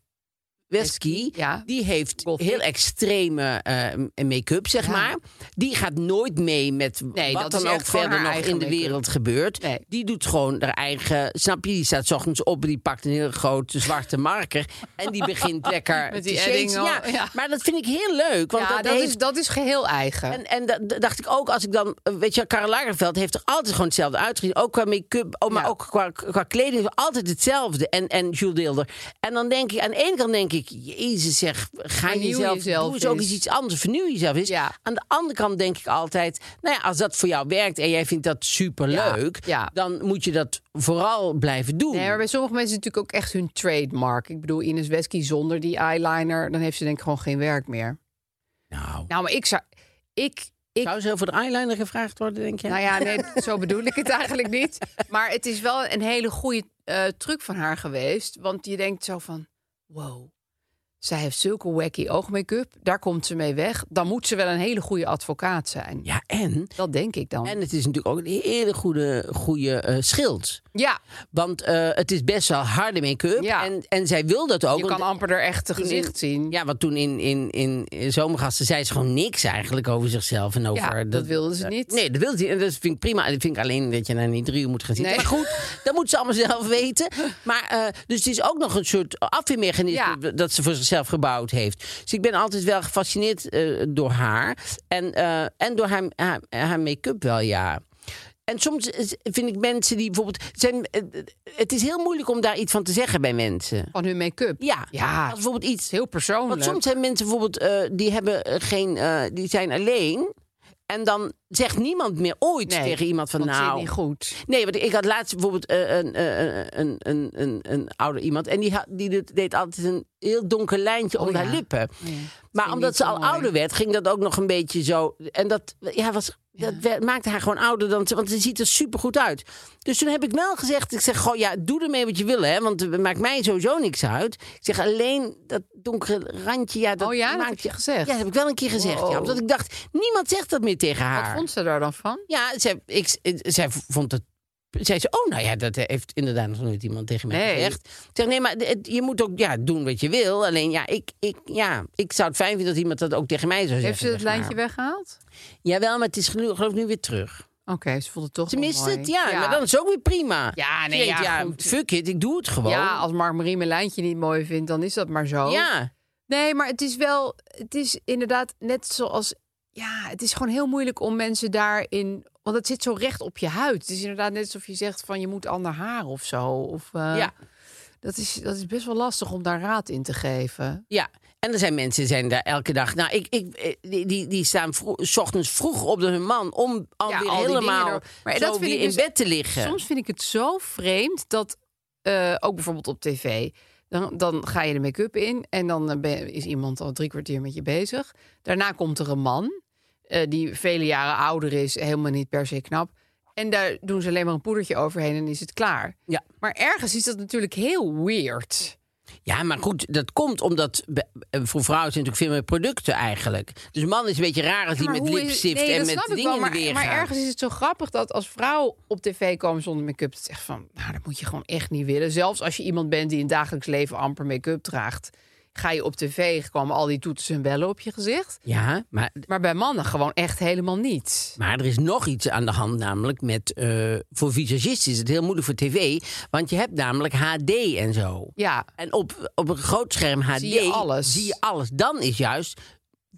S2: Westki,
S4: ja.
S2: die heeft
S4: Gothic.
S2: heel extreme eh, m- make-up, zeg
S4: Ja.
S2: maar. Die gaat nooit mee met
S4: Nee,
S2: wat
S4: dat
S2: dan
S4: is
S2: ook
S4: echt gewoon
S2: verder
S4: haar
S2: nog
S4: eigen
S2: in de
S4: make-up.
S2: wereld gebeurt.
S4: Nee.
S2: Die doet gewoon haar eigen, snap je? Die staat 's ochtends op en die pakt een hele grote zwarte marker. En die begint lekker
S4: Met die
S2: te shades.
S4: edding al,
S2: Ja,
S4: ja.
S2: Maar dat vind ik heel leuk, want
S4: ja,
S2: dat,
S4: dat,
S2: heeft
S4: is, dat is geheel eigen.
S2: en, en da- da- dacht ik ook, als ik dan... eh, Weet je, Karel Lagerveld heeft er altijd gewoon hetzelfde uitgezien. Ook qua make-up, oh, maar
S4: Ja.
S2: ook qua, qua kleding. Altijd hetzelfde. En, en Jules Deelder. En dan denk ik, aan de ene kant denk ik... Jezus zeg, ga
S4: Vernieuw
S2: jezelf...
S4: jezelf
S2: doe eens ook
S4: eens.
S2: eens iets anders. Vernieuw jezelf eens.
S4: Ja.
S2: Aan de andere kant denk ik altijd... Nou ja, als dat voor jou werkt en jij vindt dat superleuk...
S4: Ja.
S2: dan moet je dat vooral blijven doen.
S4: Nee, maar bij sommige mensen is het natuurlijk ook echt hun trademark. Ik bedoel, Ines Wesky zonder die eyeliner, dan heeft ze denk ik gewoon geen werk meer.
S2: Nou,
S4: Nou, maar ik zou... Ik, ik,
S2: zou ze voor de eyeliner gevraagd worden, denk je?
S4: nou ja, nee, zo bedoel ik het eigenlijk niet. Maar het is wel een hele goede eh, truc van haar geweest. Want je denkt zo van, wow, zij heeft zulke wacky oogmake-up. Daar komt ze mee weg. Dan moet ze wel een hele goede advocaat zijn.
S2: ja, en...
S4: Dat denk ik dan.
S2: En het is natuurlijk ook een hele goede, goede eh, schild.
S4: ja,
S2: Want eh, het is best wel harde make-up.
S4: Ja.
S2: En, en zij wil dat ook.
S4: je
S2: want
S4: kan amper haar echte
S2: toen in-
S4: gezicht zien.
S2: Ja, want toen in, in, in, in Zomergasten zei ze gewoon niks eigenlijk over zichzelf. En over
S4: Ja, dat wilde ze niet.
S2: Nee, dat wilde ze niet. En dat vind ik prima. Dat vind ik alleen dat je naar niet drie uur moet gaan zitten.
S4: Nee.
S2: Maar goed, dat moet ze allemaal zelf weten. Maar, eh, dus het is ook nog een soort afweermechanisme
S4: Ja.
S2: dat ze voor zichzelf gebouwd heeft. Dus ik ben altijd wel gefascineerd eh, door haar. En, eh, en door haar, haar, haar make-up wel, ja. En soms is- vind ik mensen die bijvoorbeeld... Zijn, eh, het is heel moeilijk om daar iets van te zeggen bij mensen.
S4: Van hun make-up.
S2: Ja,
S4: Ja.
S2: als bijvoorbeeld iets...
S4: Heel persoonlijk.
S2: Want soms zijn mensen bijvoorbeeld, eh, die, hebben eh, geen, eh, die zijn alleen. En dan zegt niemand meer ooit
S4: Nee,
S2: tegen iemand van
S4: want ze is
S2: nou...
S4: niet goed.
S2: Nee, want ik had laatst bijvoorbeeld eh, een, eh, een, een, een, een ouder iemand. En die, ha- die deed- deed altijd een heel donker lijntje onder
S4: Oh ja.
S2: haar lippen.
S4: ik
S2: Maar omdat
S4: niet
S2: ze
S4: zo
S2: al
S4: mooi.
S2: ouder werd, ging dat ook nog een beetje zo. En dat, ja, was, dat werd- maakte haar gewoon ouder dan ze. Want ze ziet er supergoed uit. Dus toen heb ik wel gezegd, ik zeg goh, ja, doe ermee wat je wil. Hè, want het maakt mij sowieso niks uit. Ik zeg alleen dat donkere randje. Ja, dat
S4: Oh ja, dat
S2: maakt
S4: heb je gezegd?
S2: Ja, dat heb ik wel een keer gezegd. Ja,
S4: Wow.
S2: omdat ik dacht, niemand zegt dat meer tegen haar.
S4: Wat vond ze daar dan van?
S2: Ja, zij, ik, zij vond het. Zei ze, oh, nou ja, dat heeft inderdaad nog nooit iemand tegen mij
S4: Nee.
S2: gezegd. Ik zeg, nee, maar het- je moet ook ja, doen wat je wil. Alleen, ja ik, ik, ja, ik zou het fijn vinden dat iemand dat ook tegen mij zou zeggen.
S4: Heeft ze het
S2: zeg maar.
S4: lijntje weggehaald?
S2: Jawel, maar het is gelu- geloof ik nu weer terug.
S4: Oké, ze vond het toch
S2: Ze
S4: wel
S2: mist
S4: mooi.
S2: het, ja, Maar dan is het ook weer prima.
S4: Ja,
S2: Ze
S4: nee,
S2: denkt,
S4: ja, goed.
S2: fuck it, ik doe het gewoon.
S4: Ja, als Mark Marie mijn lijntje niet mooi vindt, dan is dat maar zo.
S2: Ja.
S4: Nee, maar het is wel... Het is inderdaad net zoals... Ja, het is gewoon heel moeilijk om mensen daarin... Want het zit zo recht op je huid. Het is inderdaad net alsof je zegt van je moet ander haar of zo. Of, eh,
S2: Ja.
S4: dat, is, dat is best wel lastig om daar raad in te geven.
S2: Ja, en er zijn mensen die zijn daar elke dag. Nou, ik, ik, eh, die, die, die staan vro- s ochtends vroeg op de hun man om alweer
S4: al die dingen
S2: helemaal
S4: er- maar
S2: zo
S4: dat vind
S2: weer
S4: ik
S2: in
S4: dus-
S2: bed te liggen.
S4: Soms vind ik het zo vreemd dat, eh, ook bijvoorbeeld op tv, dan, dan ga je de make-up in en dan eh, ben- is iemand al drie kwartier met je bezig. Daarna komt er een man eh, die vele jaren ouder is, helemaal niet per se knap. En daar doen ze alleen maar een poedertje overheen en is het klaar.
S2: Ja.
S4: Maar ergens is dat natuurlijk heel weird.
S2: Ja, maar goed, dat komt omdat be- eh, voor vrouwen zijn natuurlijk veel meer producten eigenlijk. Dus man is een beetje raar als die
S4: Maar
S2: met
S4: hoe is-
S2: lipstift
S4: nee,
S2: en
S4: dat
S2: met
S4: snap ik
S2: dingen
S4: wel, maar,
S2: weer
S4: maar
S2: gaat.
S4: ergens is het zo grappig dat als vrouwen op tv komen zonder make-up... het is echt van, nou, dat moet je gewoon echt niet willen. Zelfs als je iemand bent die in het dagelijks leven amper make-up draagt... ga je op tv, komen al die toetsen en bellen op je gezicht.
S2: Ja, maar,
S4: Maar bij mannen gewoon echt helemaal niets.
S2: maar er is nog iets aan de hand namelijk met... eh, voor visagisten is het heel moeilijk voor tv, want je hebt namelijk HD en zo.
S4: Ja,
S2: En op, op een groot scherm HD
S4: Zie je alles.
S2: zie je alles. Dan is juist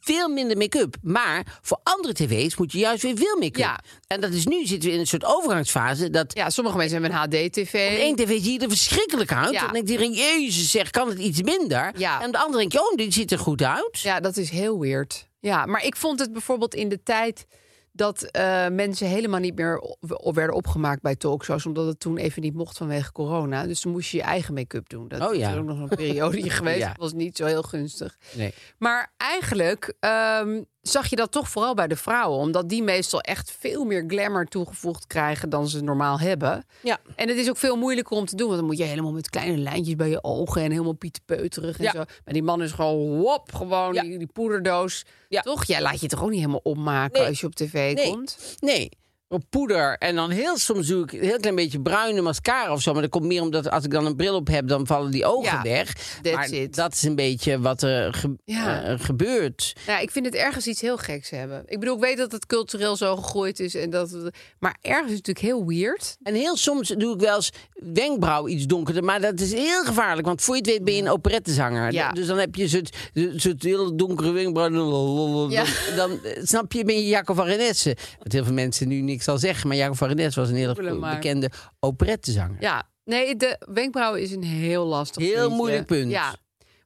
S2: veel minder make-up. Maar voor andere tv's moet je juist weer veel make-up.
S4: Ja.
S2: En dat is nu zitten we in een soort overgangsfase... dat
S4: ja sommige mensen hebben een HD-tv.
S2: Eén tv zie je er verschrikkelijk uit.
S4: Ja.
S2: Dan denk je, jezus zeg, kan het iets minder?
S4: Ja.
S2: En op de andere denk je, oh, dit ziet er goed uit.
S4: Ja, dat is heel weird. Ja, maar ik vond het bijvoorbeeld in de tijd dat eh, mensen helemaal niet meer op- op- werden opgemaakt bij talkshows, omdat het toen even niet mocht vanwege corona. Dus toen moest je je eigen make-up doen. Dat
S2: Oh ja.
S4: is ook nog een periode geweest.
S2: Ja.
S4: Dat was niet zo heel gunstig.
S2: Nee.
S4: Maar eigenlijk ehm, zag je dat toch vooral bij de vrouwen, omdat die meestal echt veel meer glamour toegevoegd krijgen dan ze normaal hebben.
S2: Ja.
S4: En het is ook veel moeilijker om te doen. Want dan moet je helemaal met kleine lijntjes bij je ogen en helemaal pieterpeuterig en
S2: Ja.
S4: zo. Maar die man is gewoon wop, gewoon
S2: Ja.
S4: die, die poederdoos.
S2: Ja.
S4: Toch? Jij laat je toch ook niet helemaal opmaken
S2: Nee.
S4: als je op tv
S2: Nee.
S4: komt?
S2: Nee. Op Poeder. En dan heel soms doe ik een heel klein beetje bruine mascara of zo. Maar dat komt meer omdat als ik dan een bril op heb, dan vallen die ogen
S4: Ja,
S2: weg.
S4: that's
S2: maar
S4: it.
S2: dat is een beetje wat er ge-
S4: Ja.
S2: eh, gebeurt.
S4: Nou, ik vind het ergens iets heel geks hebben. Ik bedoel, ik weet dat het cultureel zo gegroeid is. En dat, het- maar ergens is het natuurlijk heel weird.
S2: En heel soms doe ik wel eens wenkbrauw iets donkerder. Maar dat is heel gevaarlijk. Want voor je het weet ben je een operettezanger.
S4: Ja.
S2: Dus dan heb je zo'n zo'n hele donkere wenkbrauw.
S4: Ja.
S2: Dan, dan, eh, snap je, ben je Jacob van Renesse. Wat heel veel mensen nu niks zal zeggen. Maar Jacob van Renesse was een hele
S4: Googelen
S2: goe-
S4: maar.
S2: bekende operettezanger.
S4: Ja, nee, de wenkbrauw is een heel lastig
S2: Heel
S4: puntje.
S2: moeilijk punt.
S4: Ja.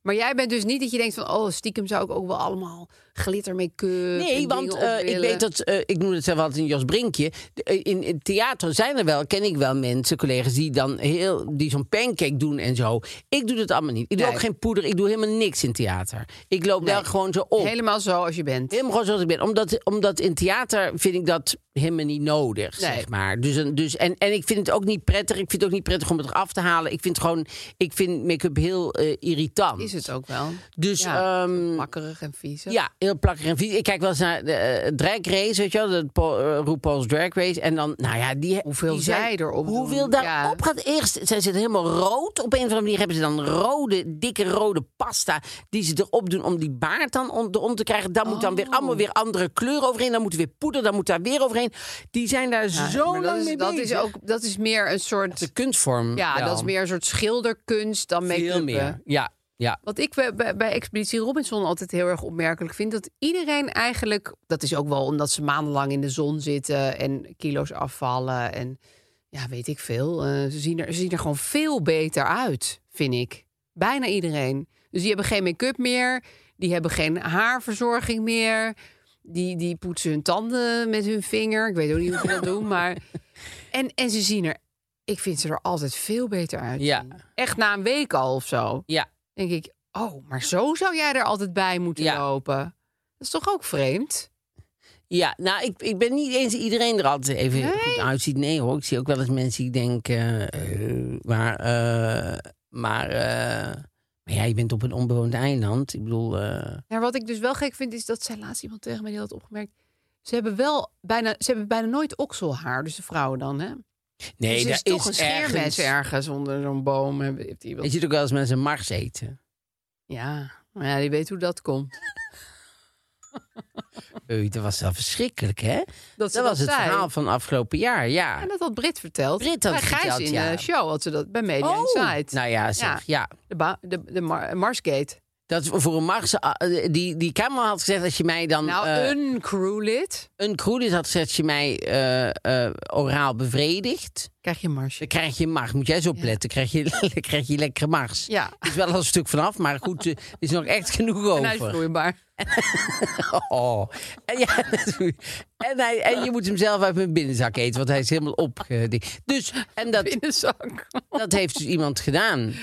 S4: Maar jij bent dus niet dat je denkt van... oh, stiekem zou ik ook wel allemaal glitter make-up... en
S2: Nee,
S4: dingen
S2: want
S4: op
S2: eh, ik
S4: willen.
S2: weet dat, eh, ik noem het zelf altijd een Jos Brinkje. De- eh, In, in theater zijn er wel, ken ik wel mensen, collega's die dan heel, die zo'n pancake doen en zo. Ik doe dat allemaal niet. Ik doe
S4: Nee.
S2: ook geen poeder, ik doe helemaal niks in theater. Ik loop wel gewoon zo op.
S4: Helemaal zo als je bent.
S2: Helemaal gewoon zoals ik ben. Omdat, omdat in theater vind ik dat helemaal niet nodig,
S4: Nee.
S2: zeg maar. Dus, een- dus, en, en ik vind het ook niet prettig. Ik vind het ook niet prettig om het eraf te halen. Ik vind gewoon, ik vind make-up heel eh, irritant.
S4: Is het ook wel.
S2: Dus
S4: Ja,
S2: ehm,
S4: Makkerig en vies. hè?
S2: ja, heel plakkerig en vies. Ik kijk wel eens naar de eh, Drag Race, weet je wel, de Po- eh, RuPaul's Drag Race. En dan, nou ja, die...
S4: Hoeveel
S2: die
S4: zij erop doen.
S2: Hoeveel daarop
S4: Ja.
S2: gaat. Eerst, zij zitten helemaal rood. Op een of andere manier hebben ze dan rode, dikke rode pasta die ze erop doen om die baard dan om, erom te krijgen. Dan moet dan
S4: Oh.
S2: weer allemaal weer andere kleur overheen. Dan moet er weer poeder, dan moet daar weer overheen. Die zijn daar
S4: Ja,
S2: zo
S4: maar
S2: lang
S4: dat is,
S2: mee
S4: dat
S2: bezig.
S4: is ook Dat is meer een soort...
S2: de kunstvorm.
S4: Ja,
S2: wel.
S4: dat is meer een soort schilderkunst dan make-up.
S2: Veel
S4: hè?
S2: meer. Ja, ja.
S4: Wat ik bij, bij, bij Expeditie Robinson altijd heel erg opmerkelijk vind... dat iedereen eigenlijk... Dat is ook wel omdat ze maandenlang in de zon zitten... en kilo's afvallen en... Ja, weet ik veel. Eh, ze, zien er, ze zien er gewoon veel beter uit, vind ik. Bijna iedereen. Dus die hebben geen make-up meer. Die hebben geen haarverzorging meer. Die, die poetsen hun tanden met hun vinger. Ik weet ook niet hoe ze dat doen, maar... En, en ze zien er... Ik vind ze er altijd veel beter uit.
S2: Ja.
S4: Echt na een week al of zo
S2: Ja,
S4: denk ik, oh, maar zo zou jij er altijd bij moeten
S2: Ja.
S4: lopen. Dat is toch ook vreemd?
S2: Ja, nou, ik, ik ben niet eens dat iedereen er altijd even goed uitziet. Nee hoor, ik zie ook wel eens mensen die denken... eh, maar, eh, maar, eh, maar ja, je bent op een onbewoond eiland. Ik bedoel, eh,
S4: Maar wat ik dus wel gek vind, is dat zij laatst iemand tegen mij die had opgemerkt. Ze hebben wel bijna, ze hebben bijna nooit okselhaar, dus de vrouwen dan, hè?
S2: nee,
S4: dus er
S2: daar
S4: is toch een scheermes
S2: ergens...
S4: ergens, onder zo'n boom. hebben- Heeft
S2: Je
S4: iemand...
S2: ziet ook wel eens mensen mars eten.
S4: Ja, maar ja, die weet hoe dat komt.
S2: Ui, dat was wel verschrikkelijk, hè?
S4: Dat, ze
S2: Dat was het
S4: zei.
S2: verhaal van afgelopen jaar, ja.
S4: En dat had Brit verteld. Oh.
S2: Brit had
S4: Bij Gijs
S2: verteld,
S4: in
S2: ja.
S4: de show had ze dat bij Media Insight.
S2: nou ja, zeg,
S4: Ja.
S2: ja.
S4: De, ba- de, de Mar- Marsgate.
S2: Dat voor een mars... eh, Die, die camera had gezegd als je mij dan...
S4: Nou,
S2: eh,
S4: een crewlid
S2: een crude had gezegd als je mij eh, eh, oraal bevredigt...
S4: krijg je een marsje.
S2: Dan krijg je mars. Moet jij eens opletten. Krijg je, dan krijg je lekkere mars.
S4: Ja,
S2: Is wel al een stuk vanaf, maar goed, eh, er is nog echt genoeg
S4: en hij is
S2: over.
S4: vloeibaar.
S2: Oh. En, ja, natuurlijk. en, hij, en je moet hem zelf uit mijn binnenzak eten, want hij is helemaal op. Dus, en dat,
S4: binnenzak.
S2: dat heeft dus iemand gedaan.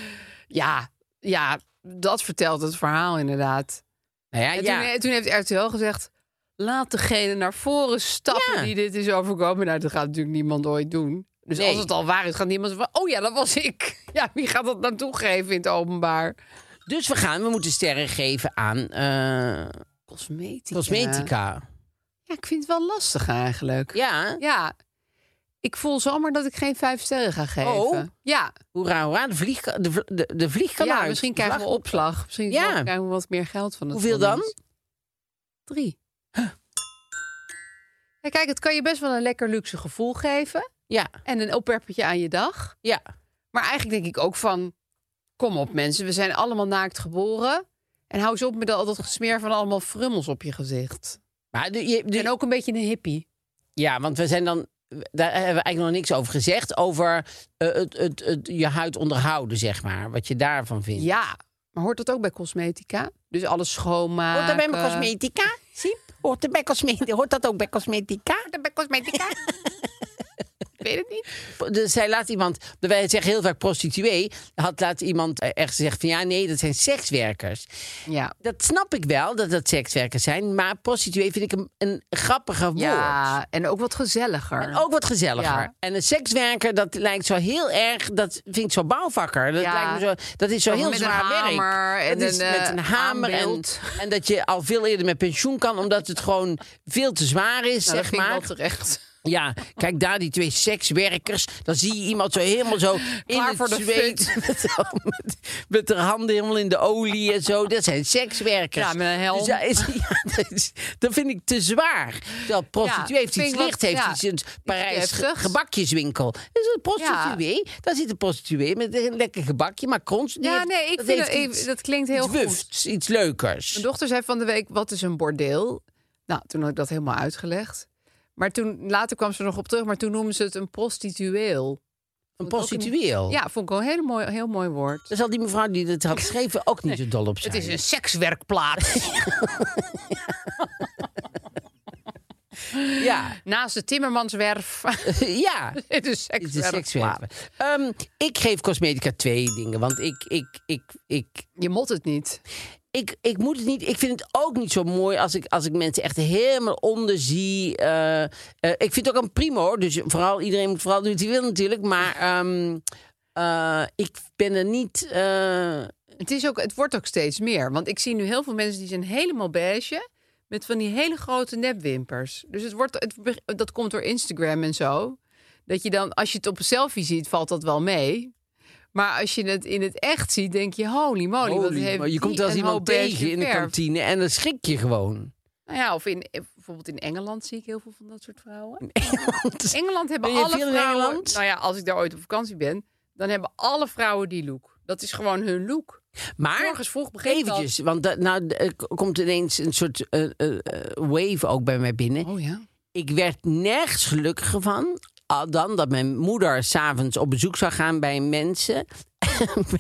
S4: Ja, ja, dat vertelt het verhaal inderdaad.
S2: Nou ja,
S4: En
S2: ja.
S4: toen, toen heeft RTL gezegd... laat degene naar voren stappen
S2: Ja.
S4: die dit is overkomen. Nou, dat gaat natuurlijk niemand ooit doen. Dus
S2: Nee.
S4: als het al waar is, gaat niemand van... Oh ja, dat was ik. Ja, wie gaat dat nou toegeven in het openbaar?
S2: Dus we gaan, we moeten sterren geven aan eh,
S4: Cosmetica.
S2: cosmetica.
S4: Ja, ik vind het wel lastig eigenlijk.
S2: Ja,
S4: Ja. Ik voel zomaar dat ik geen vijf sterren ga geven.
S2: Oh.
S4: Ja.
S2: hoera, hoera. De vlieg, de, vl- de, de vlieg kan
S4: ja,
S2: uit.
S4: misschien krijgen we
S2: Vlag-
S4: opslag. Misschien
S2: Ja.
S4: krijgen we wat meer geld van het
S2: Hoeveel dan?
S4: fonds. Drie. Ja, kijk, het kan je best wel een lekker luxe gevoel geven.
S2: Ja,
S4: En een opwerpertje aan je dag.
S2: ja.
S4: Maar eigenlijk denk ik ook van... Kom op mensen, we zijn allemaal naakt geboren. En hou eens op met al dat gesmeer van allemaal frummels op je gezicht.
S2: Maar de, je, de-
S4: En ook een beetje een hippie.
S2: Ja, want we zijn dan. Daar hebben we eigenlijk nog niks over gezegd. Over eh, het, het, het, je huid onderhouden, zeg maar. Wat je daarvan vindt.
S4: Ja, maar hoort dat ook bij cosmetica? Dus alles schoonmaken.
S2: Hoort dat bij mijn
S4: eh,
S2: cosmetica? Siep? Hoort dat, bij cosmetica? Hoort dat ook bij cosmetica?
S4: bij cosmetica? ik weet het niet.
S2: Dus zij laat iemand, wij zeggen heel vaak prostituee, had laat iemand eh, echt gezegd van ja, nee, dat zijn sekswerkers.
S4: Ja.
S2: Dat snap ik wel, dat dat sekswerkers zijn, maar prostituee vind ik een, een grappiger woord.
S4: ja, en ook wat gezelliger. Nou,
S2: En ook wat gezelliger.
S4: Ja.
S2: En een sekswerker, dat lijkt zo heel erg. Dat vind ik zo bouwvakker. Dat,
S4: Ja.
S2: lijkt me zo, dat is zo
S4: Ook
S2: heel
S4: met een
S2: zwaar
S4: hamer
S2: werk.
S4: en
S2: dat is
S4: een,
S2: met
S4: eh,
S2: een hamer. En,
S4: aanbeeld.
S2: en dat je al veel eerder met pensioen kan, omdat het gewoon veel te zwaar is,
S4: Nou, dat
S2: zeg
S4: vind ik
S2: maar.
S4: wel terecht.
S2: Ja, kijk daar, die twee sekswerkers. Dan zie je iemand zo helemaal zo in
S4: Klaar
S2: het
S4: voor de
S2: zweet. Met, met, met haar handen helemaal in de olie en zo. Dat zijn sekswerkers.
S4: Ja, met een helm.
S2: Dus dat, is, ja, dat, is- dat vind ik te zwaar. Terwijl prostituee
S4: Ja,
S2: heeft iets
S4: vind ik
S2: licht,
S4: wat-
S2: heeft
S4: ja,
S2: iets een Parijs ge-
S4: heftigs.
S2: gebakjeswinkel. Dat is een prostituee. Daar zit een prostituee met een lekker gebakje, maar krons. die
S4: Ja,
S2: heeft-
S4: nee, ik
S2: dat
S4: vind
S2: heeft
S4: dat,
S2: iets-
S4: even, dat klinkt heel
S2: iets
S4: goed.
S2: wufts, iets leukers.
S4: Mijn dochter zei van de week, wat is een bordeel? Nou, toen had ik dat helemaal uitgelegd. Maar toen, later kwam ze er nog op terug, maar toen noemde ze het een prostitueel.
S2: Een
S4: Vond ik ook
S2: prostitueel.
S4: Ja, vond ik wel een heel mooi, heel mooi woord.
S2: Daar zal die mevrouw die dat had geschreven ook niet zo dol op zijn.
S4: Dus Het is een sekswerkplaats.
S2: Ja.
S4: Naast de Timmermanswerf.
S2: ja.
S4: het is
S2: Het is
S4: sekswerkplaats.
S2: sekswerken. Ehm, ik geef cosmetica twee dingen. Want ik, ik, ik, ik,
S4: Je mot het niet.
S2: ik, ik moet het niet. Ik vind het ook niet zo mooi als ik, als ik mensen echt helemaal onder zie. Eh, eh, ik vind het ook een primo. hoor. Dus vooral iedereen moet vooral doen wat hij wil natuurlijk. Maar ehm, eh, ik ben er niet. eh,
S4: Het, is ook, het wordt ook steeds meer. Want ik zie nu heel veel mensen die zijn helemaal beige. Met van die hele grote nepwimpers. Dus het wordt, het, be- dat komt door Instagram en zo. Dat je dan, als je het op een selfie ziet, valt dat wel mee. Maar als je het in het echt ziet, denk je, holy moly. wat
S2: holy,
S4: heeft
S2: maar je
S4: Oh, die
S2: komt wel eens
S4: een
S2: iemand
S4: hoop beige
S2: tegen in de
S4: verf.
S2: kantine en dan schrik je gewoon.
S4: Nou ja, of in, bijvoorbeeld in Engeland zie ik heel veel van dat soort vrouwen.
S2: Want-
S4: Engeland hebben
S2: Ben je
S4: alle
S2: veel in
S4: vrouwen.
S2: Engeland?
S4: Nou ja, als ik daar ooit op vakantie ben, dan hebben alle vrouwen die look. Dat is gewoon hun look.
S2: Maar
S4: Morgens vroeg begint
S2: eventjes, want da- nou er k- komt ineens een soort eh, eh, eh, wave ook bij mij binnen.
S4: Oh ja.
S2: Ik werd nergens gelukkiger van al dan dat mijn moeder s'avonds op bezoek zou gaan bij mensen.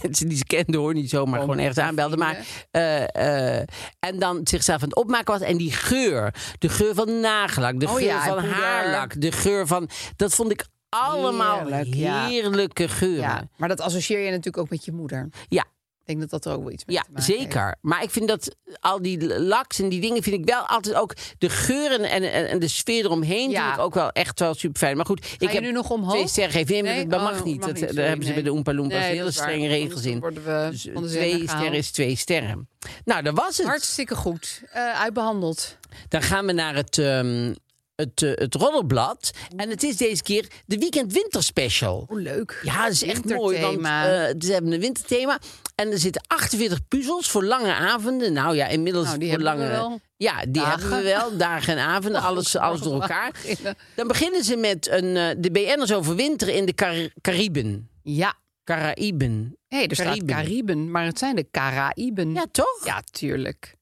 S2: mensen die ze kende hoor, niet zomaar
S4: Oh,
S2: gewoon ergens aanbelde. Maar, eh, eh, en dan zichzelf aan het opmaken was. En die geur, de geur van nagelak, de
S4: Oh
S2: geur
S4: ja, en
S2: van
S4: poeder.
S2: haarlak, de geur van... Dat vond ik allemaal
S4: Heerlijk, ja.
S2: heerlijke geuren.
S4: ja. Maar dat associeer je natuurlijk ook met je moeder.
S2: ja.
S4: Ik denk dat dat er ook wel iets mee
S2: Ja,
S4: te maken heeft.
S2: zeker. Maar ik vind dat al die laks en die dingen vind ik wel altijd ook de geuren en, en, en de sfeer eromheen
S4: Ja.
S2: vind ik ook wel echt wel super fijn. Maar goed, ik
S4: je nu nog omhoog?
S2: twee sterren gegeven. Nee, maar
S4: Nee?
S2: dat
S4: Oh,
S2: mag
S4: dat
S2: niet.
S4: mag
S2: dat eh,
S4: niet,
S2: daar
S4: sorry,
S2: hebben ze
S4: nee.
S2: bij de Oompa Loompas
S4: Nee,
S2: hele
S4: dat is waar.
S2: strenge
S4: Anders
S2: regels in.
S4: worden we
S2: dus
S4: van de zender
S2: twee
S4: gehaald.
S2: sterren is twee sterren. Nou, dat was het.
S4: Hartstikke goed. Eh, uitbehandeld.
S2: Dan gaan we naar het, ehm, het, eh, het roddelblad. En het is deze keer de Weekend Winter Special.
S4: Hoe leuk.
S2: Oh, Ja, dat is echt mooi. Want
S4: Winterthema.
S2: eh, ze hebben een winterthema. En er zitten 48 puzzels voor lange avonden. Nou ja, inmiddels
S4: Nou, die
S2: voor
S4: hebben we
S2: langere.
S4: wel.
S2: Ja, die
S4: Dagen. Oh,
S2: hebben we wel. Dagen en avonden, alles, alles door elkaar.
S4: beginnen.
S2: Dan beginnen ze met een, eh, de BN'ers overwinteren in de Car- Cariben.
S4: Ja.
S2: Caraïben.
S4: Hé, hey, er staat
S2: Cariben.
S4: Cariben, maar het zijn de Caraïben.
S2: Ja, toch?
S4: Ja, tuurlijk.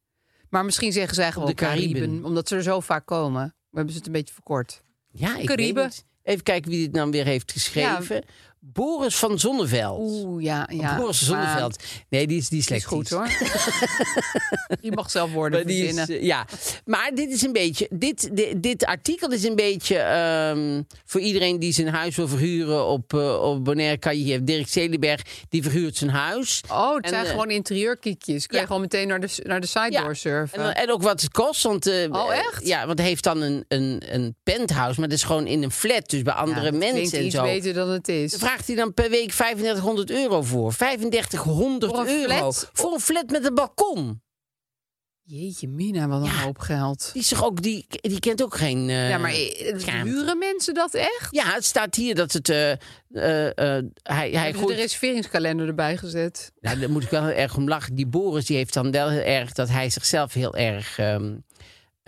S4: Maar misschien zeggen zij gewoon
S2: de Cariben.
S4: Cariben, omdat ze er zo vaak komen. We hebben ze het een beetje verkort.
S2: Ja, ik
S4: Cariben.
S2: weet het. Even kijken wie dit dan weer heeft geschreven. Boris van Zonneveld.
S4: Oeh, ja, ja.
S2: Boris
S4: maar
S2: Zonneveld. Nee, die is, die is
S4: Het is goed
S2: goed
S4: hoor. Je mag zelf
S2: Maar
S4: worden
S2: die is,
S4: verzinnen.
S2: eh, ja, maar dit is een beetje. Dit, dit, dit artikel is een beetje ehm, voor iedereen die zijn huis wil verhuren op, eh, op Bonaire. Kan je hier Dirk Zelenberg die verhuurt zijn huis.
S4: Oh, het
S2: En,
S4: zijn
S2: eh,
S4: gewoon interieurkiekjes. Kun
S2: ja.
S4: je gewoon meteen naar de, naar de site
S2: Ja.
S4: doorsurfen.
S2: En, en ook wat het kost. Want, eh,
S4: Oh,
S2: eh,
S4: echt?
S2: Ja, want hij heeft dan een, een, een penthouse, maar dat is gewoon in een flat, dus bij andere
S4: Ja, dat klinkt
S2: mensen en
S4: iets
S2: zo.
S4: beter dan het is.
S2: Daar vraagt hij dan per week 3500 euro voor. 3500
S4: Voor een
S2: euro.
S4: flat?
S2: Voor een flat met een balkon.
S4: Jeetje, Mina, wat een
S2: Ja.
S4: hoop geld.
S2: Die, is toch ook, die, die kent ook geen. eh,
S4: ja, maar eh,
S2: schaamte.
S4: huren mensen dat echt?
S2: Ja, het staat hier dat het. eh, eh, eh, hij hij
S4: Hebben ze
S2: gooit.
S4: de reserveringskalender erbij gezet?
S2: Nou, daar moet ik wel heel erg om lachen. Die Boris die heeft dan wel heel erg dat hij zichzelf heel erg. ehm,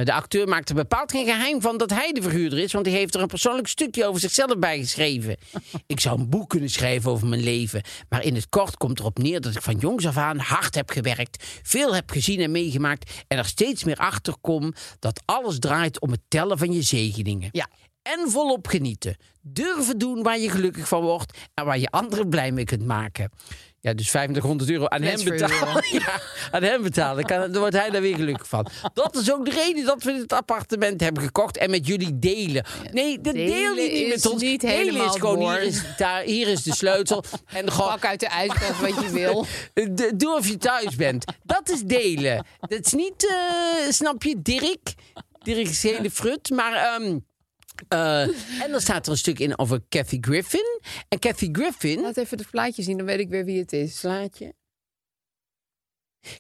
S2: de acteur maakt er bepaald geen geheim van dat hij de verhuurder is, want hij heeft er een persoonlijk stukje over zichzelf bij geschreven. Ik zou een boek kunnen schrijven over mijn leven, maar in het kort komt erop neer dat ik van jongs af aan hard heb gewerkt, veel heb gezien en meegemaakt en er steeds meer achter kom dat alles draait om het tellen van je zegeningen.
S4: Ja.
S2: En volop genieten. Durven doen waar je gelukkig van wordt en waar je anderen blij mee kunt maken. Ja, dus 2500 euro aan hem
S4: Flats
S2: betalen. Ja, aan hem betalen. Kan, dan wordt hij daar weer gelukkig van. Dat is ook de reden dat we dit appartement hebben gekocht en met jullie delen. Nee, dat
S4: Delen
S2: deel je niet
S4: is
S2: met ons.
S4: niet
S2: delen
S4: helemaal
S2: is
S4: het
S2: gewoon
S4: woord.
S2: hier is, daar, hier is de sleutel. En gewoon,
S4: Pak uit de ijskast wat je wil.
S2: Hm? de- doe of je thuis bent. Dat is delen. Dat is niet, eh, snap je, Dirk? Dirk is hele frut, maar... ehm, eh, en dan staat er een stuk in over Kathy Griffin. En Kathy Griffin...
S4: Laat even het plaatje zien, dan weet ik weer wie het is.
S2: Slaatje.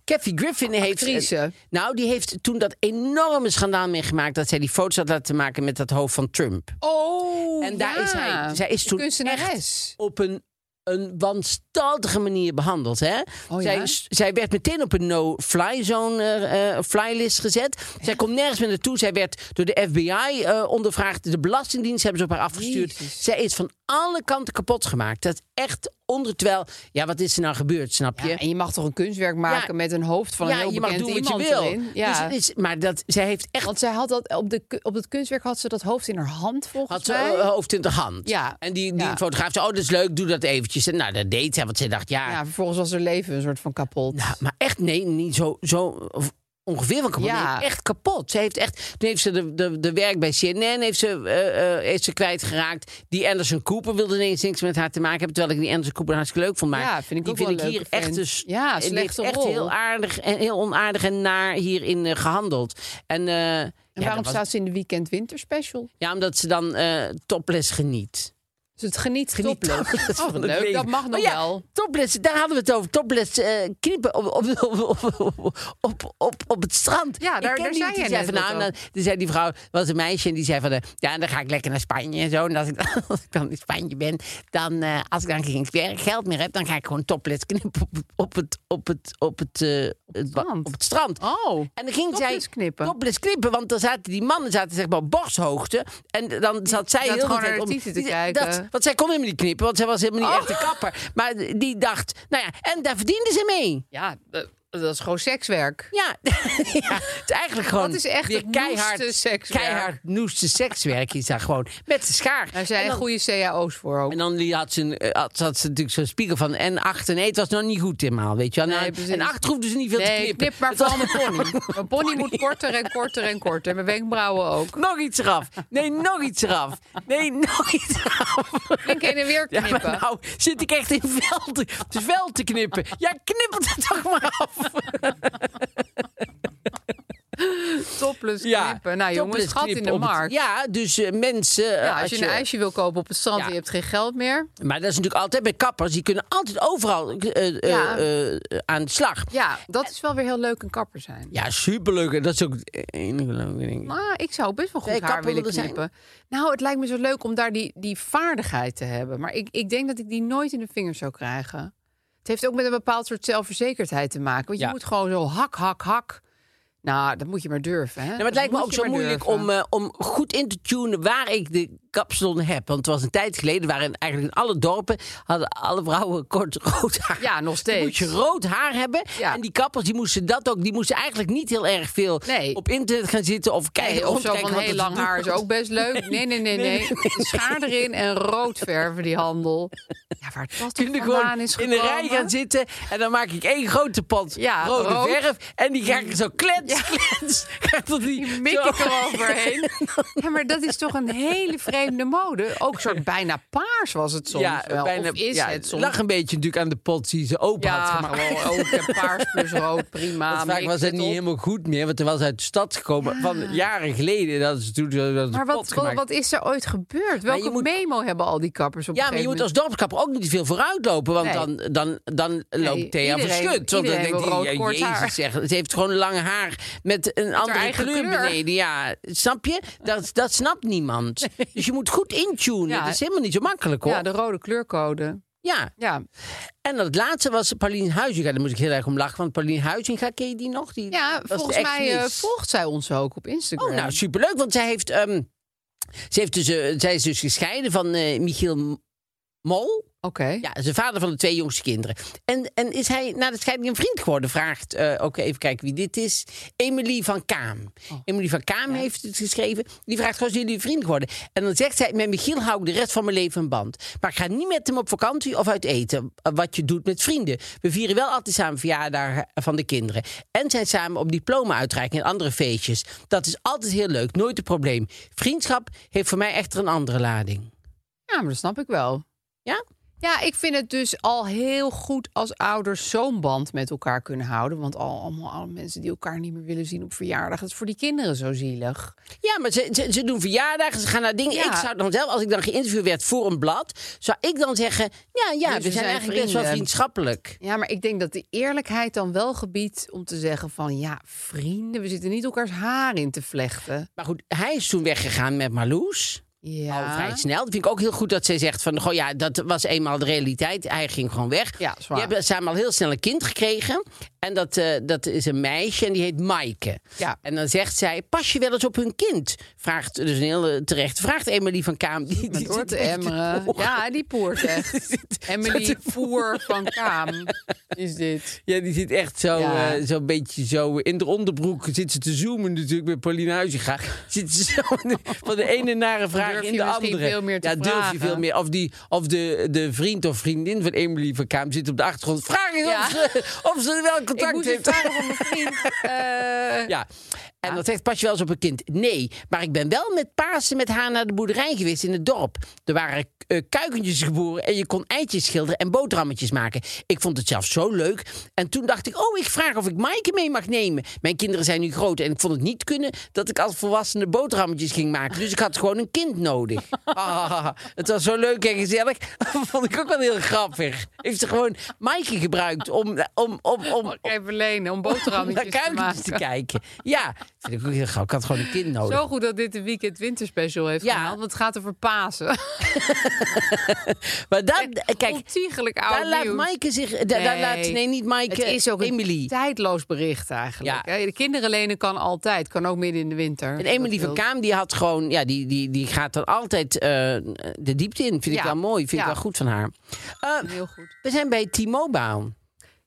S2: Kathy Griffin heeft...
S4: Actrice.
S2: Nou, die heeft toen dat enorme schandaal meegemaakt... dat zij die foto's had laten maken met dat hoofd van Trump.
S4: Oh,
S2: En daar
S4: ja.
S2: is hij- zij is
S4: De
S2: toen
S4: kunstenares.
S2: op een, een wanstaltige manier behandeld. Hè?
S4: Oh,
S2: zij,
S4: ja?
S2: zij werd meteen op een no-fly zone eh, eh, flylist gezet. Zij komt nergens meer naartoe. Zij werd door de FBI eh, ondervraagd. De Belastingdienst hebben ze op haar afgestuurd.
S4: Jezus.
S2: Zij is van alle kanten kapot gemaakt. Dat is echt onder terwijl. Ja, wat is er nou gebeurd, snap je?
S4: Ja, en je mag toch een kunstwerk maken
S2: Ja.
S4: met een hoofd van een
S2: Ja,
S4: heel
S2: je mag
S4: bekend
S2: doen wat je
S4: iemand
S2: wil.
S4: erin. Ja.
S2: Dus, het is- maar dat, zij heeft echt
S4: Want zij had dat op, de, ku- op het kunstwerk had ze dat hoofd in haar hand volgens
S2: Had ze
S4: mij.
S2: eh, hoofd in de hand.
S4: Ja.
S2: En die, die
S4: Ja.
S2: fotograaf zei, oh, dat is leuk, doe dat eventjes. En nou, dat deed zij, want zij dacht,
S4: ja, vervolgens was haar leven een soort van kapot.
S2: Nou, maar echt, nee, niet zo, zo of ongeveer van kapot.
S4: Ja.
S2: Nee, echt kapot. Ze heeft echt, toen heeft ze de, de, de werk bij CNN heeft ze, eh, eh, heeft ze kwijtgeraakt. Die Anderson Cooper wilde ineens niks met haar te maken hebben. Terwijl ik die Anderson Cooper hartstikke leuk vond. Maar
S4: Ja, vind ik
S2: die vind
S4: ook
S2: ik
S4: wel een
S2: hier
S4: leuke
S2: echt
S4: vent.
S2: dus...
S4: Ja,
S2: die heeft
S4: slechte
S2: echt
S4: rol.
S2: heel aardig en heel onaardig en naar hierin eh, gehandeld. En, eh,
S4: en
S2: ja,
S4: waarom
S2: dat was-
S4: staat ze in de weekend winterspecial?
S2: Ja, omdat ze dan eh, topless geniet.
S4: Dus het geniet,
S2: Geniet
S4: topless.
S2: topless
S4: Oh,
S2: van het
S4: leuk,
S2: leven.
S4: dat mag
S2: Maar
S4: nog
S2: ja,
S4: wel.
S2: Topless, daar hadden we het over. Topless eh, knippen op, op, op, op, op, op, op het strand.
S4: Ja, daar- daar zei
S2: die
S4: jij
S2: zei van,
S4: net wat
S2: nou,
S4: over.
S2: dan, toen zei die vrouw, er was een meisje en die zei van, eh, ja, dan ga ik lekker naar Spanje en zo. En als ik, dan- als ik dan in Spanje ben, dan, eh, als ik dan geen wer- geld meer heb, dan ga ik gewoon topless knippen op, op het, op het, op het, eh, het ba-
S4: strand.
S2: op het strand.
S4: Oh,
S2: En dan ging
S4: topless
S2: zij
S4: knippen.
S2: Topless knippen, want dan zaten die mannen zaten zeg maar op borsthoogte. En dan zat zij
S4: zat
S2: heel de
S4: gewoon
S2: tijd
S4: naar de tieten te
S2: die-
S4: kijken. Oh.
S2: Dat, want zij kon helemaal niet knippen, want zij was helemaal niet echt een kapper. Maar die dacht, nou ja, en daar verdiende ze mee.
S4: ja, eh, dat is gewoon sekswerk.
S2: Ja, ja het is eigenlijk gewoon
S4: Dat is echt
S2: weer
S4: het
S2: keihard,
S4: noeste sekswerk.
S2: keihard noeste sekswerk is daar gewoon met de schaar.
S4: Daar zijn
S2: En dan-
S4: goede cao's voor ook.
S2: en dan die had ze, een, eh, had, had ze natuurlijk zo'n spiegel van N8 en 1. Het was nog niet goed helemaal, weet je wel.
S4: Nee,
S2: Nou,
S4: precies.
S2: en 8 hoefde ze niet veel te
S4: Nee, ik
S2: knippen.
S4: knip maar
S2: Het was-
S4: vooral mijn pony. Mijn pony moet korter en korter en korter. Mijn wenkbrauwen ook.
S2: Nog iets eraf. Nee, nog iets eraf. Nee, nog iets eraf.
S4: Flink heen en weer
S2: Ja, maar
S4: knippen.
S2: nou zit ik echt in vel te, het vel te knippen. Ja, knip het er toch maar af.
S4: Topless
S2: Ja,
S4: knippen. Nou jongens,
S2: topless
S4: gat in
S2: knippen
S4: de
S2: op het-
S4: markt.
S2: Ja, dus eh, mensen... eh,
S4: Ja, als je een ijsje wil kopen op het strand
S2: Ja.
S4: en je hebt geen geld meer.
S2: Maar dat is natuurlijk altijd bij kappers. Die kunnen altijd overal eh, eh,
S4: Ja.
S2: eh, eh, aan de slag.
S4: Ja, dat is wel weer heel leuk een kapper zijn.
S2: Ja, superleuk. En dat is ook het enige leuke ding.
S4: Maar ik zou best wel goed
S2: Zou je
S4: haar
S2: kapper
S4: willen
S2: willen zijn?
S4: knippen. Nou, het lijkt me zo leuk om daar die, die vaardigheid te hebben. Maar ik, ik denk dat ik die nooit in de vingers zou krijgen. Het heeft ook met een bepaald soort zelfverzekerdheid te maken. Want je
S2: Ja.
S4: moet gewoon zo hak, hak, hak. Nou, dat moet je maar durven. Hè?
S2: eh, Ja, maar het lijkt me ook zo moeilijk om, eh, om goed in te tunen waar ik de kapsalon heb. Want het was een tijd geleden waarin eigenlijk in alle dorpen hadden alle vrouwen kort rood haar.
S4: Ja, nog steeds.
S2: Dan Moet je rood haar hebben.
S4: Ja.
S2: En die kappers die moesten dat ook. Die moesten eigenlijk niet heel erg veel
S4: Nee.
S2: op internet gaan zitten of kijken.
S4: Nee, of zo
S2: rondkijken
S4: van
S2: wat
S4: heel
S2: het
S4: lang haar is
S2: doet.
S4: ook best leuk. Nee, nee, nee, nee. Schaar erin en rood verven die handel. Ja, waar dat toch
S2: Kun je gewoon
S4: vandaan is
S2: in
S4: gekomen.
S2: de rij gaan zitten en dan maak ik één grote pand
S4: Ja,
S2: rode
S4: rood.
S2: verf en die ga ik zo klets, klets. Gaat tot die,
S4: Die mik
S2: zo-
S4: ik eroverheen. Ja, maar dat is toch een hele vreemde mode. Ook een soort bijna paars was het soms
S2: ja,
S4: wel.
S2: bijna,
S4: of is
S2: ja,
S4: het soms?
S2: lag een beetje natuurlijk aan de pot die ze open
S4: ja,
S2: had gemaakt.
S4: gewoon ook een paars plus rood, prima.
S2: Want vaak
S4: mix
S2: was het
S4: het
S2: niet
S4: op.
S2: helemaal goed meer, want er was uit de stad gekomen van jaren geleden. En hadden ze toen zo- dat
S4: Ah. Maar
S2: pot
S4: wat, wat,
S2: gemaakt.
S4: wat is er ooit gebeurd? Welke
S2: je moet-
S4: memo hebben al die kappers op
S2: ja,
S4: een
S2: maar je
S4: gegeven
S2: moet als dorpskapper ook niet te veel vooruit lopen. Want dan,
S4: Nee.
S2: dan, dan loopt Thea
S4: iedereen-
S2: verschut. Want dan
S4: iedereen
S2: denkt
S4: wil rood
S2: hij, ja,
S4: kort haar.
S2: jezus zeg, het heeft gewoon lang haar met een andere
S4: eigen
S2: kleur,
S4: kleur.
S2: beneden. Ja, snap je? Dat, dat snapt niemand. Dus je moet goed intunen.
S4: Ja.
S2: Dat is helemaal niet zo makkelijk hoor.
S4: moment. Ja, de rode kleurcode.
S2: ja.
S4: Ja,
S2: En het laatste was Pauline Huizinga. Daar moet ik heel erg om lachen. Want Pauline Huizinga, ken je die nog? Die,
S4: ja
S2: dat is
S4: volgens
S2: echt
S4: mij eh,
S2: niks.
S4: volgt zij ons ook op Instagram.
S2: Oh, nou, superleuk. Want zij heeft... ehm, ze heeft dus, eh, zij is dus gescheiden van eh, Michiel Mol.
S4: Oké.
S2: Ja, zijn vader van de twee jongste kinderen. En, en is hij na de scheiding een vriend geworden? Vraagt, eh, ook even kijken wie dit is. Emily van Kaam. Emily van Kaam heeft het dus geschreven. Die vraagt gewoon, zijn jullie vriend geworden? En dan zegt zij, met Michiel hou ik de rest van mijn leven een band. Maar ik ga niet met hem op vakantie of uit eten. eh, Wat je doet met vrienden. We vieren wel altijd samen verjaardagen eh, van de kinderen. En zijn samen op diploma-uitreiking en andere feestjes. Dat is altijd heel leuk, nooit een probleem. Vriendschap heeft voor mij echter een andere lading.
S4: Ja, maar dat snap ik wel.
S2: Ja?
S4: Ja, ik vind het dus al heel goed als ouders zo'n band met elkaar kunnen houden. Want al, allemaal alle mensen die elkaar niet meer willen zien op verjaardag, dat is voor die kinderen zo zielig.
S2: Ja, maar ze, ze, ze doen verjaardagen, ze gaan naar dingen.
S4: Ja.
S2: Ik zou dan zelf, als ik dan geïnterviewd werd voor een blad, zou ik dan zeggen: Ja, ja, we,
S4: Dus we
S2: zijn,
S4: zijn
S2: eigenlijk best wel
S4: vrienden.
S2: vriendschappelijk.
S4: Ja, maar ik denk dat de eerlijkheid dan wel gebiedt om te zeggen van... ja, vrienden, we zitten niet elkaars haar in te vlechten.
S2: Maar goed, hij is toen weggegaan met Marloes. Al
S4: Ja,
S2: Oh, vrij snel. Dat vind ik ook heel goed dat zij zegt van... Goh, ja, dat was eenmaal de realiteit. Hij ging gewoon weg.
S4: Ja, zwaar.
S2: Die hebben samen al heel snel een kind gekregen. En dat, eh, dat is een meisje en die heet Maaike.
S4: Ja.
S2: En dan zegt zij, pas je wel eens op hun kind? Vraagt, dus een heel terecht, vraagt Emily van Kaam. Die, die
S4: met door
S2: zit
S4: te
S2: echt te
S4: emmeren.
S2: pochen.
S4: Ja, die poort echt. Emily Voer van Kaam is dit.
S2: Ja, die zit echt zo,
S4: Ja.
S2: eh, zo'n beetje zo in de onderbroek. Zit ze te zoomen natuurlijk met Pauline Huizinga. Zit ze zo in de- van de ene nare vraag
S4: Durf je
S2: in de
S4: misschien
S2: andere.
S4: veel meer te
S2: ja, durf je
S4: vragen.
S2: veel meer. Of, die, of de, de vriend of vriendin van Emily van Kaam zit op de achtergrond. Vraag eens
S4: Ja.
S2: of, ze, of ze wel
S4: Ik
S2: contact
S4: moest het
S2: heeft.
S4: vragen van mijn vriend. eh,
S2: Ja. En dan zegt, pas je wel eens op een kind? Nee, maar ik ben wel met Pasen met haar naar de boerderij geweest in het dorp. Er waren eh, kuikentjes geboren en je kon eitjes schilderen en boterhammetjes maken. Ik vond het zelf zo leuk. En toen dacht ik, oh, ik vraag of ik Maaike mee mag nemen. Mijn kinderen zijn nu groot en ik vond het niet kunnen dat ik als volwassene boterhammetjes ging maken. Dus ik had gewoon een kind nodig. Ah, het was zo leuk en gezellig. vond ik ook wel heel grappig. Heeft ze gewoon Maaike gebruikt om, om, om, om,
S4: Even lenen om
S2: om naar
S4: boterhammetjes te
S2: kuikentjes te
S4: maken.
S2: kijken. Ja, vind ik ook heel grappig. Ik had gewoon een kind nodig.
S4: Zo goed dat dit de weekend winterspecial heeft
S2: Ja.
S4: gehaald. Want het gaat over Pasen.
S2: Maar dat, eh, kijk,
S4: Ontiegelijk oud
S2: daar laat
S4: nieuws.
S2: Maaike zich... Daar, daar
S4: Nee.
S2: laat, nee, niet Maaike,
S4: Het is ook een
S2: Emily.
S4: tijdloos bericht eigenlijk.
S2: Ja.
S4: hè. De kinderen lenen kan altijd. Kan ook midden in de winter.
S2: En Emily van Kaam, die had gewoon... Ja, die, die, die gaat dan altijd eh, de diepte in. Vind ik
S4: Ja.
S2: wel mooi. Vind
S4: Ja.
S2: ik wel goed van haar. Eh,
S4: Heel goed.
S2: we zijn bij T-Mobile.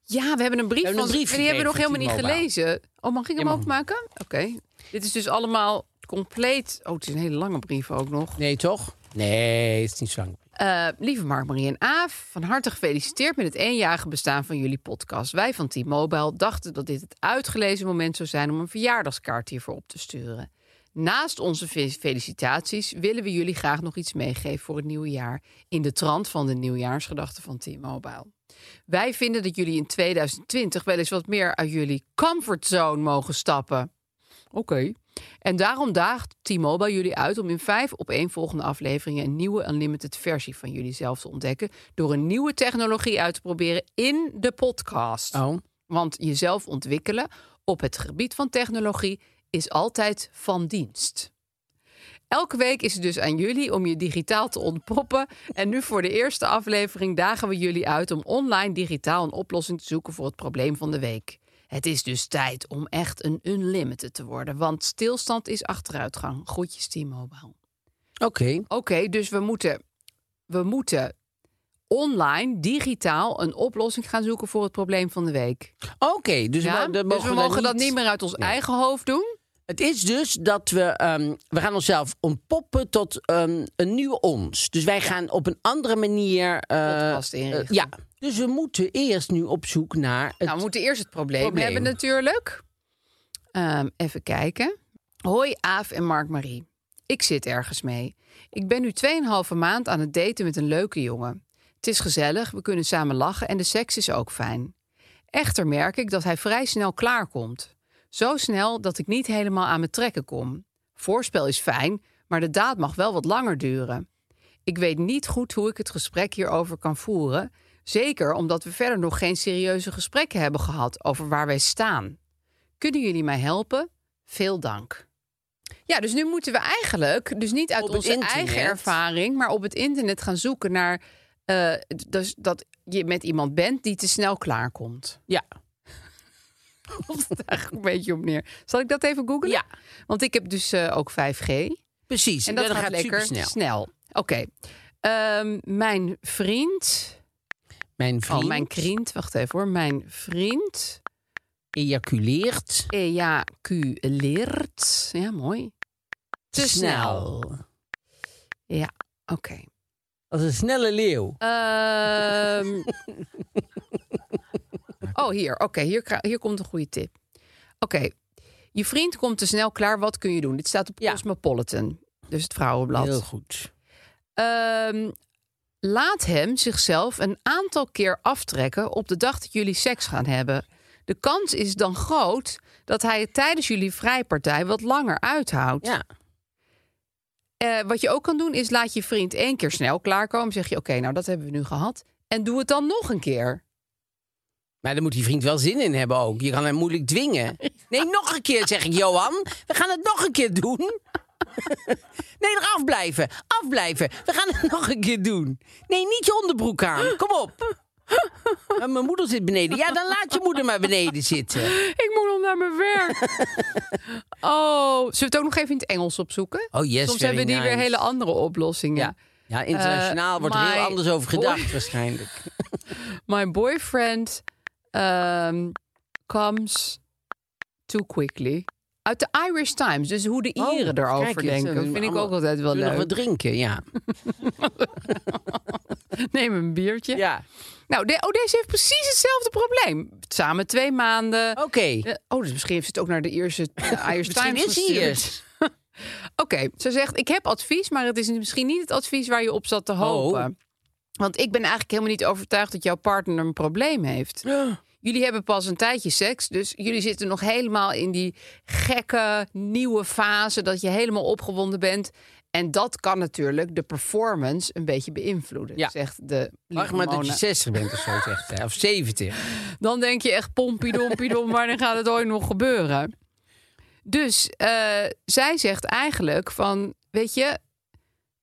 S4: Ja, we hebben een brief.
S2: We hebben
S4: van-
S2: een brief
S4: en die hebben we nog
S2: gekregen
S4: helemaal
S2: van
S4: niet gelezen. Oh, mag ik hem openmaken? Oké. Dit is dus allemaal compleet... Oh, het is een hele lange brief ook nog.
S2: Nee, toch? Nee, het is niet zo lang.
S4: Eh, lieve Mark, Marie en Aaf, van harte gefeliciteerd met het eenjarige bestaan van jullie podcast. Wij van T-Mobile dachten dat dit het uitgelezen moment zou zijn om een verjaardagskaart hiervoor op te sturen. Naast onze fe- felicitaties willen we jullie graag nog iets meegeven voor het nieuwe jaar. In de trant van de nieuwjaarsgedachten van T-Mobile. Wij vinden dat jullie in 2020 wel eens wat meer uit jullie comfortzone mogen stappen. Oké. En daarom daagt T-Mobile jullie uit om in vijf opeenvolgende afleveringen een nieuwe unlimited versie van jullie zelf te ontdekken. Door een nieuwe technologie uit te proberen in de podcast.
S2: Oh.
S4: Want jezelf ontwikkelen op het gebied van technologie is altijd van dienst. Elke week is het dus aan jullie om je digitaal te ontpoppen. En nu voor de eerste aflevering dagen we jullie uit om online digitaal een oplossing te zoeken voor het probleem van de week. Het is dus tijd om echt een unlimited te worden, want stilstand is achteruitgang. Groetjes T-Mobile.
S2: Oké.
S4: Oké, dus we moeten, we moeten online, digitaal, een oplossing gaan zoeken voor het probleem van de week.
S2: Oké, dus,
S4: ja?
S2: we, dan
S4: dus we
S2: dan
S4: mogen dat niet meer uit ons
S2: Nee.
S4: eigen hoofd doen.
S2: Het is dus dat we, ehm, we gaan onszelf ontpoppen tot ehm, een nieuwe ons. Dus wij gaan op een andere manier... eh,
S4: Podcast inrichten.
S2: eh, ja, dus we moeten eerst nu op zoek naar... Het...
S4: Nou, we moeten eerst het probleem,
S2: probleem.
S4: hebben natuurlijk. Ehm, even kijken. Hoi Aaf en Mark-Marie. Ik zit ergens mee. Ik ben nu 2,5 maand aan het daten met een leuke jongen. Het is gezellig, we kunnen samen lachen en de seks is ook fijn. Echter merk ik dat hij vrij snel klaarkomt. Zo snel dat ik niet helemaal aan mijn trekken kom. Voorspel is fijn, maar de daad mag wel wat langer duren. Ik weet niet goed hoe ik het gesprek hierover kan voeren. Zeker omdat we verder nog geen serieuze gesprekken hebben gehad over waar wij staan. Kunnen jullie mij helpen? Veel dank. Ja, dus nu moeten we eigenlijk, dus niet uit
S2: Op het
S4: onze eigen
S2: internet.
S4: ervaring, maar op het internet gaan zoeken naar eh, dus dat je met iemand bent die te snel klaarkomt.
S2: Ja.
S4: Komt het eigenlijk een beetje op neer. Zal ik dat even googlen?
S2: Ja.
S4: Want ik heb dus eh, ook 5G.
S2: Precies,
S4: En dat gaat, lekker
S2: supersnel.
S4: Oké. Ehm, mijn vriend.
S2: Mijn vriend
S4: Oh, mijn vriend. Wacht even hoor. Mijn vriend
S2: ejaculeert
S4: ejaculeert. Ja, mooi. Te snel. Ja, oké.
S2: Als een snelle leeuw.
S4: Ehm. oh, hier. Oké, hier, kra- hier komt een goede tip. Oké. Je vriend komt te snel klaar. Wat kun je doen? Dit staat op
S2: Ja.
S4: Cosmopolitan. Dus het vrouwenblad.
S2: Heel goed.
S4: Ehm, laat hem zichzelf een aantal keer aftrekken op de dag dat jullie seks gaan hebben. De kans is dan groot dat hij het tijdens jullie vrijpartij wat langer uithoudt.
S2: Ja.
S4: Eh, wat je ook kan doen is laat je vriend één keer snel klaarkomen. Zeg je, oké, nou dat hebben we nu gehad. En doe het dan nog een keer.
S2: Maar daar moet die vriend wel zin in hebben ook. Je kan hem moeilijk dwingen. Nee, nog een keer, zeg ik, Johan. We gaan het nog een keer doen. Nee, eraf blijven. Afblijven. We gaan het nog een keer doen. Nee, niet je onderbroek aan. Kom op. Maar Mijn moeder zit beneden. Ja, dan laat je moeder maar beneden zitten.
S4: Ik moet nog naar mijn werk. oh, zullen we het ook nog even in het Engels opzoeken?
S2: Oh, yes,
S4: Soms
S2: very
S4: hebben die weer
S2: nice.
S4: hele andere oplossingen.
S2: Ja, ja internationaal
S4: Eh,
S2: wordt er heel
S4: my
S2: anders over
S4: boy-
S2: gedacht waarschijnlijk.
S4: My boyfriend um, comes too quickly. Uit de Irish Times, dus hoe de
S2: Oh,
S4: Ieren erover
S2: kijk eens,
S4: denken.
S2: eh,
S4: Dat vind ik
S2: allemaal-
S4: ook altijd wel
S2: Zullen we nog
S4: leuk.
S2: wat drinken, ja.
S4: Neem een biertje.
S2: Ja,
S4: Nou, de- oh, deze heeft precies hetzelfde probleem. Samen twee maanden.
S2: oké.
S4: Eh, Oh, dus misschien heeft ze het ook naar de Ierse de Irish
S2: Misschien
S4: Times
S2: is hij
S4: gestuurd.
S2: eerst.
S4: Oké, ze zegt, ik heb advies, maar het is misschien niet het advies waar je op zat te
S2: Oh.
S4: hopen. Want ik ben eigenlijk helemaal niet overtuigd dat jouw partner een probleem heeft. Jullie hebben pas een tijdje seks, dus jullie zitten nog helemaal in die gekke nieuwe fase dat je helemaal opgewonden bent. En dat kan natuurlijk de performance een beetje beïnvloeden,
S2: Ja.
S4: zegt de
S2: Wacht maar dat je
S4: lieve
S2: 60 bent of zo, zegt hij. Of 70.
S4: Mona. Dan denk je echt pompidompiedom, wanneer gaat het ooit nog gebeuren? Dus eh, zij zegt eigenlijk van, weet je,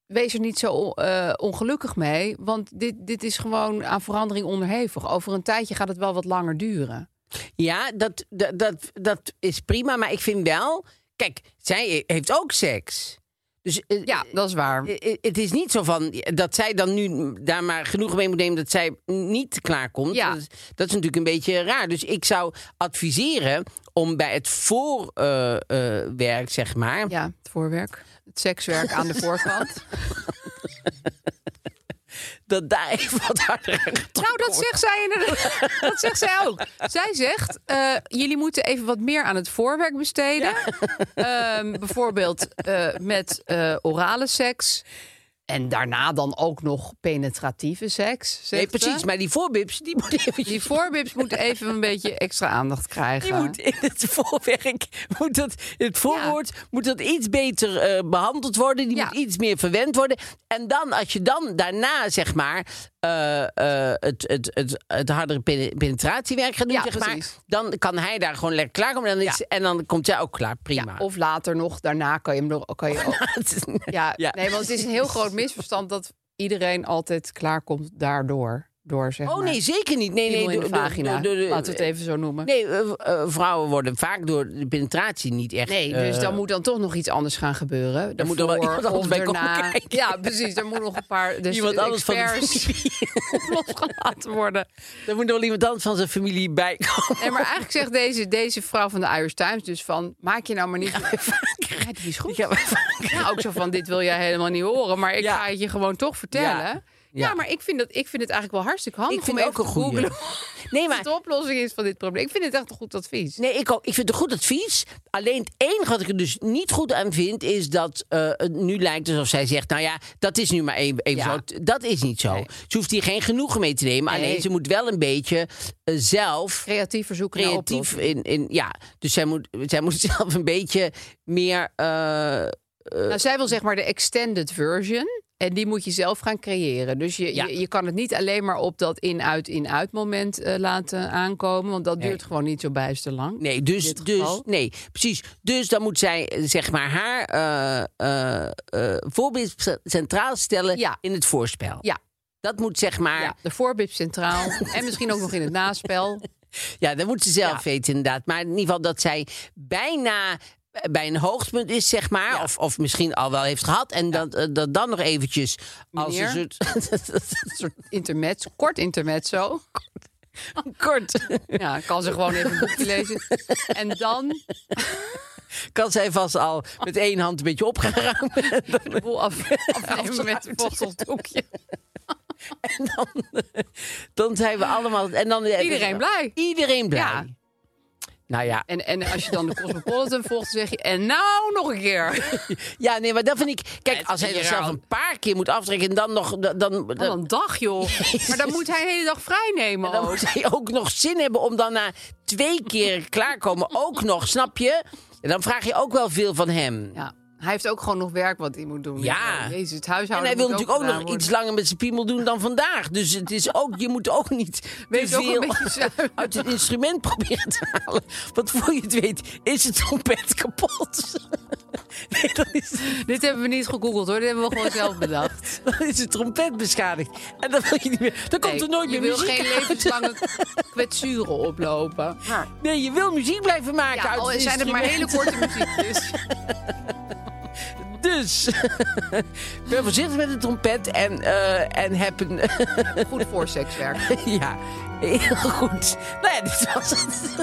S4: wees er niet zo eh, ongelukkig mee. Want dit, dit is gewoon aan verandering onderhevig. Over een tijdje gaat het wel wat langer duren.
S2: Ja, dat, dat, dat, dat is prima. Maar ik vind wel... Kijk, zij heeft ook seks. Dus eh,
S4: Ja, dat is waar.
S2: eh, eh, het is niet zo van eh, dat zij dan nu daar maar genoeg mee moet nemen dat zij niet klaarkomt.
S4: Ja.
S2: Dat, is, dat is natuurlijk een beetje raar. Dus ik zou adviseren om bij het voorwerk, zeg maar,
S4: Ja, het voorwerk. Het sekswerk aan de voorkant.
S2: dat daar even wat harder aan getrokken
S4: nou, dat zegt zij inderdaad. Dat zegt zij ook. Zij zegt, eh, jullie moeten even wat meer aan het voorwerk besteden. Ehm, bijvoorbeeld eh, met eh, orale seks. En daarna dan ook nog penetratieve seks.
S2: Nee,
S4: zegt ze.
S2: precies. Maar die voorbips, die moet eventjes...
S4: Die voorbips moeten even een beetje extra aandacht krijgen.
S2: Die moet in het voorwerk, moet dat, in het voorwoord, moet dat iets beter eh, behandeld worden. Die
S4: Ja.
S2: moet iets meer verwend worden. En dan, als je dan daarna, zeg maar, eh, eh, het, het, het, het hardere pene- penetratiewerk gaat doen,
S4: Ja,
S2: zeg maar,
S4: precies.
S2: dan kan hij daar gewoon lekker klaarkomen. En dan, is,
S4: Ja.
S2: en dan komt jij ook klaar,
S4: Ja,
S2: prima.
S4: of later nog, daarna kan je hem nog... Kan je ook, ja, Nee, want het is een heel groot misverstand dat iedereen altijd klaarkomt daardoor. door, zeg
S2: Oh
S4: maar.
S2: nee, zeker niet. Nee, nee,
S4: Piemel in
S2: door-
S4: de
S2: door-
S4: vagina,
S2: door- door-
S4: laten we het even zo noemen.
S2: Nee, eh, eh, vrouwen worden vaak door de penetratie niet echt...
S4: Nee, dus
S2: eh,
S4: dan moet dan toch nog iets anders gaan gebeuren. Dan
S2: moet er wel iemand anders bij komen kijken.
S4: Ja, precies. Er moet nog een paar dus
S2: iemand anders van de
S4: experts
S2: familie.
S4: op losgelaten worden.
S2: Dan moet er wel iemand anders van zijn familie bij komen.
S4: Nee, maar eigenlijk zegt deze, deze vrouw van de Irish Times dus van... maak je nou maar niet... Ja, die is goed.
S2: Ja, maar-
S4: Ja, ook zo van, dit wil jij helemaal niet horen, maar ik
S2: Ja.
S4: ga het je gewoon toch vertellen.
S2: Ja.
S4: Ja,
S2: Ja.
S4: maar ik vind, dat, ik vind het eigenlijk wel hartstikke handig
S2: Ik vind
S4: om
S2: ook
S4: even
S2: een
S4: te
S2: goeie.
S4: googlen
S2: Nee,
S4: wat
S2: maar
S4: de oplossing is van dit probleem. Ik vind het echt een goed advies.
S2: Nee, ik, ook. ik vind het een goed advies. Alleen het enige wat ik er dus niet goed aan vind... is dat eh, het nu lijkt alsof zij zegt... nou ja, dat is nu maar even, even
S4: Ja.
S2: zo. T- Dat is niet zo. Ze hoeft hier geen genoegen mee te nemen.
S4: Nee.
S2: Alleen ze moet wel een beetje eh, zelf...
S4: Creatief verzoeken naar
S2: creatief in,
S4: oplossingen.
S2: in... Ja, dus zij moet, zij moet zelf een beetje meer... eh,
S4: Nou, zij wil zeg maar de extended version. En die moet je zelf gaan creëren. Dus je,
S2: Ja.
S4: je, je kan het niet alleen maar op dat in-uit, in-uit moment eh, laten aankomen. Want dat duurt gewoon niet zo bijster lang.
S2: Nee, dus,
S4: dit
S2: dus
S4: geval.
S2: nee, precies. Dus dan moet zij eh, zeg maar haar eh, eh, eh, voorbeeld centraal stellen
S4: Ja.
S2: in het voorspel.
S4: Ja,
S2: Dat moet zeg maar.
S4: ja,
S2: Ja,
S4: de voorbib centraal. en misschien ook nog in het naspel.
S2: dat moet ze zelf
S4: Ja.
S2: weten inderdaad. Maar in ieder geval dat zij bijna bij een hoogtepunt is, zeg maar. Of, of misschien al wel heeft gehad. En dat, eh, dat dan nog eventjes als een
S4: Meneer?
S2: soort... een soort
S4: Intermezzo, kort intermezzo.
S2: kort.
S4: Ja, kan ze gewoon even een boekje lezen. En dan
S2: Kan zij vast al met één hand een beetje op gaan ruimen.
S4: de boel af, afnemen met een vochteldoekje.
S2: En dan, dan zijn we allemaal... En dan, eh,
S4: Iedereen blij.
S2: Iedereen blij.
S4: Ja.
S2: Nou ja.
S4: En, en als je dan de Cosmopolitan volgt, dan zeg je... En nou nog een keer.
S2: ja, nee, maar dat vind ik... Kijk,
S4: Het
S2: als hij
S4: is
S2: er
S4: hier
S2: zelf
S4: al-
S2: een paar keer moet aftrekken... en dan nog... Dan, dan,
S4: Wat een dag, joh. Maar dan moet hij een hele dag vrij nemen.
S2: dan
S4: ook.
S2: moet hij ook nog zin hebben om dan na twee keer klaarkomen. Ook nog, snap je? En dan vraag je ook wel veel van hem.
S4: Ja, hij heeft ook gewoon nog werk wat hij moet doen.
S2: Ja.
S4: Jezus, het
S2: En
S4: huishouden
S2: hij wil
S4: moet
S2: natuurlijk ook nog
S4: gedaan worden.
S2: iets langer met zijn piemel doen dan vandaag. Dus het is ook, je moet ook niet te
S4: Wees ook een
S2: veel
S4: beetje zuinig.
S2: uit het instrument proberen te halen. Want voor je het weet, is het trompet kapot. Nee, dan is,
S4: Dit hebben we niet gegoogeld, hoor. Dit hebben we gewoon zelf bedacht.
S2: dan is de trompet beschadigd. En dan wil je niet meer. Dan komt
S4: Nee,
S2: er nooit
S4: je
S2: meer
S4: wil
S2: muziek
S4: geen
S2: uit.
S4: levenslange kwetsuren oplopen.
S2: Nee, je wil muziek blijven maken
S4: Ja,
S2: uit
S4: al
S2: het
S4: zijn het maar hele
S2: instrument.
S4: korte muziekjes.
S2: Dus, ben voorzichtig met de trompet en, eh, en heb een...
S4: dus Goed voor sekswerk. Nou,
S2: ja, heel goed. Nou ja, dit was het.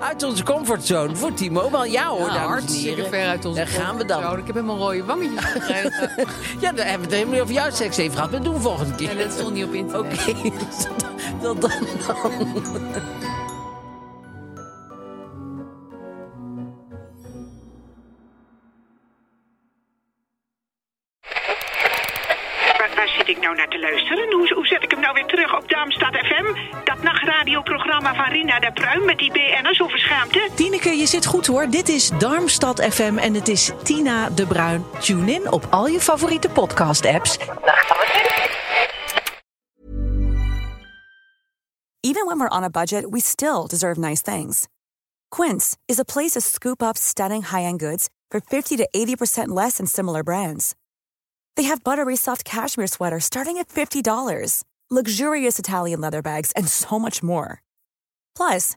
S2: Uit onze comfortzone voor Timo. Wel jou hoor,
S4: Ja,
S2: dames en
S4: hartstikke
S2: heren.
S4: ver uit onze
S2: Daar gaan we dan.
S4: comfortzone. Ik heb helemaal rode wangetjes gekregen.
S2: Ja, daar hebben we het helemaal niet over jouw seks heeft gehad. Dat doen we volgende keer.
S4: en dat stond niet op internet.
S2: Oké, tot dan. dan.
S5: Waar, waar zit ik nou naar te luisteren? Hoe, hoe zet ik hem nou weer terug op Darmstad FM? Dat nachtradioprogramma van Rina de Pruim met die BN'ers over schaamte?
S6: Tineke, je zit goed hoor. Dit is Darmstad FM en het is Tina de Bruin. Tune in op al je favoriete podcast-apps.
S7: Even when we're on a budget, we still deserve nice things. Quince is a place to scoop up stunning high-end goods for 50 to 80% less than similar brands. They have buttery soft cashmere sweaters starting at $50, luxurious Italian leather bags, and so much more. Plus,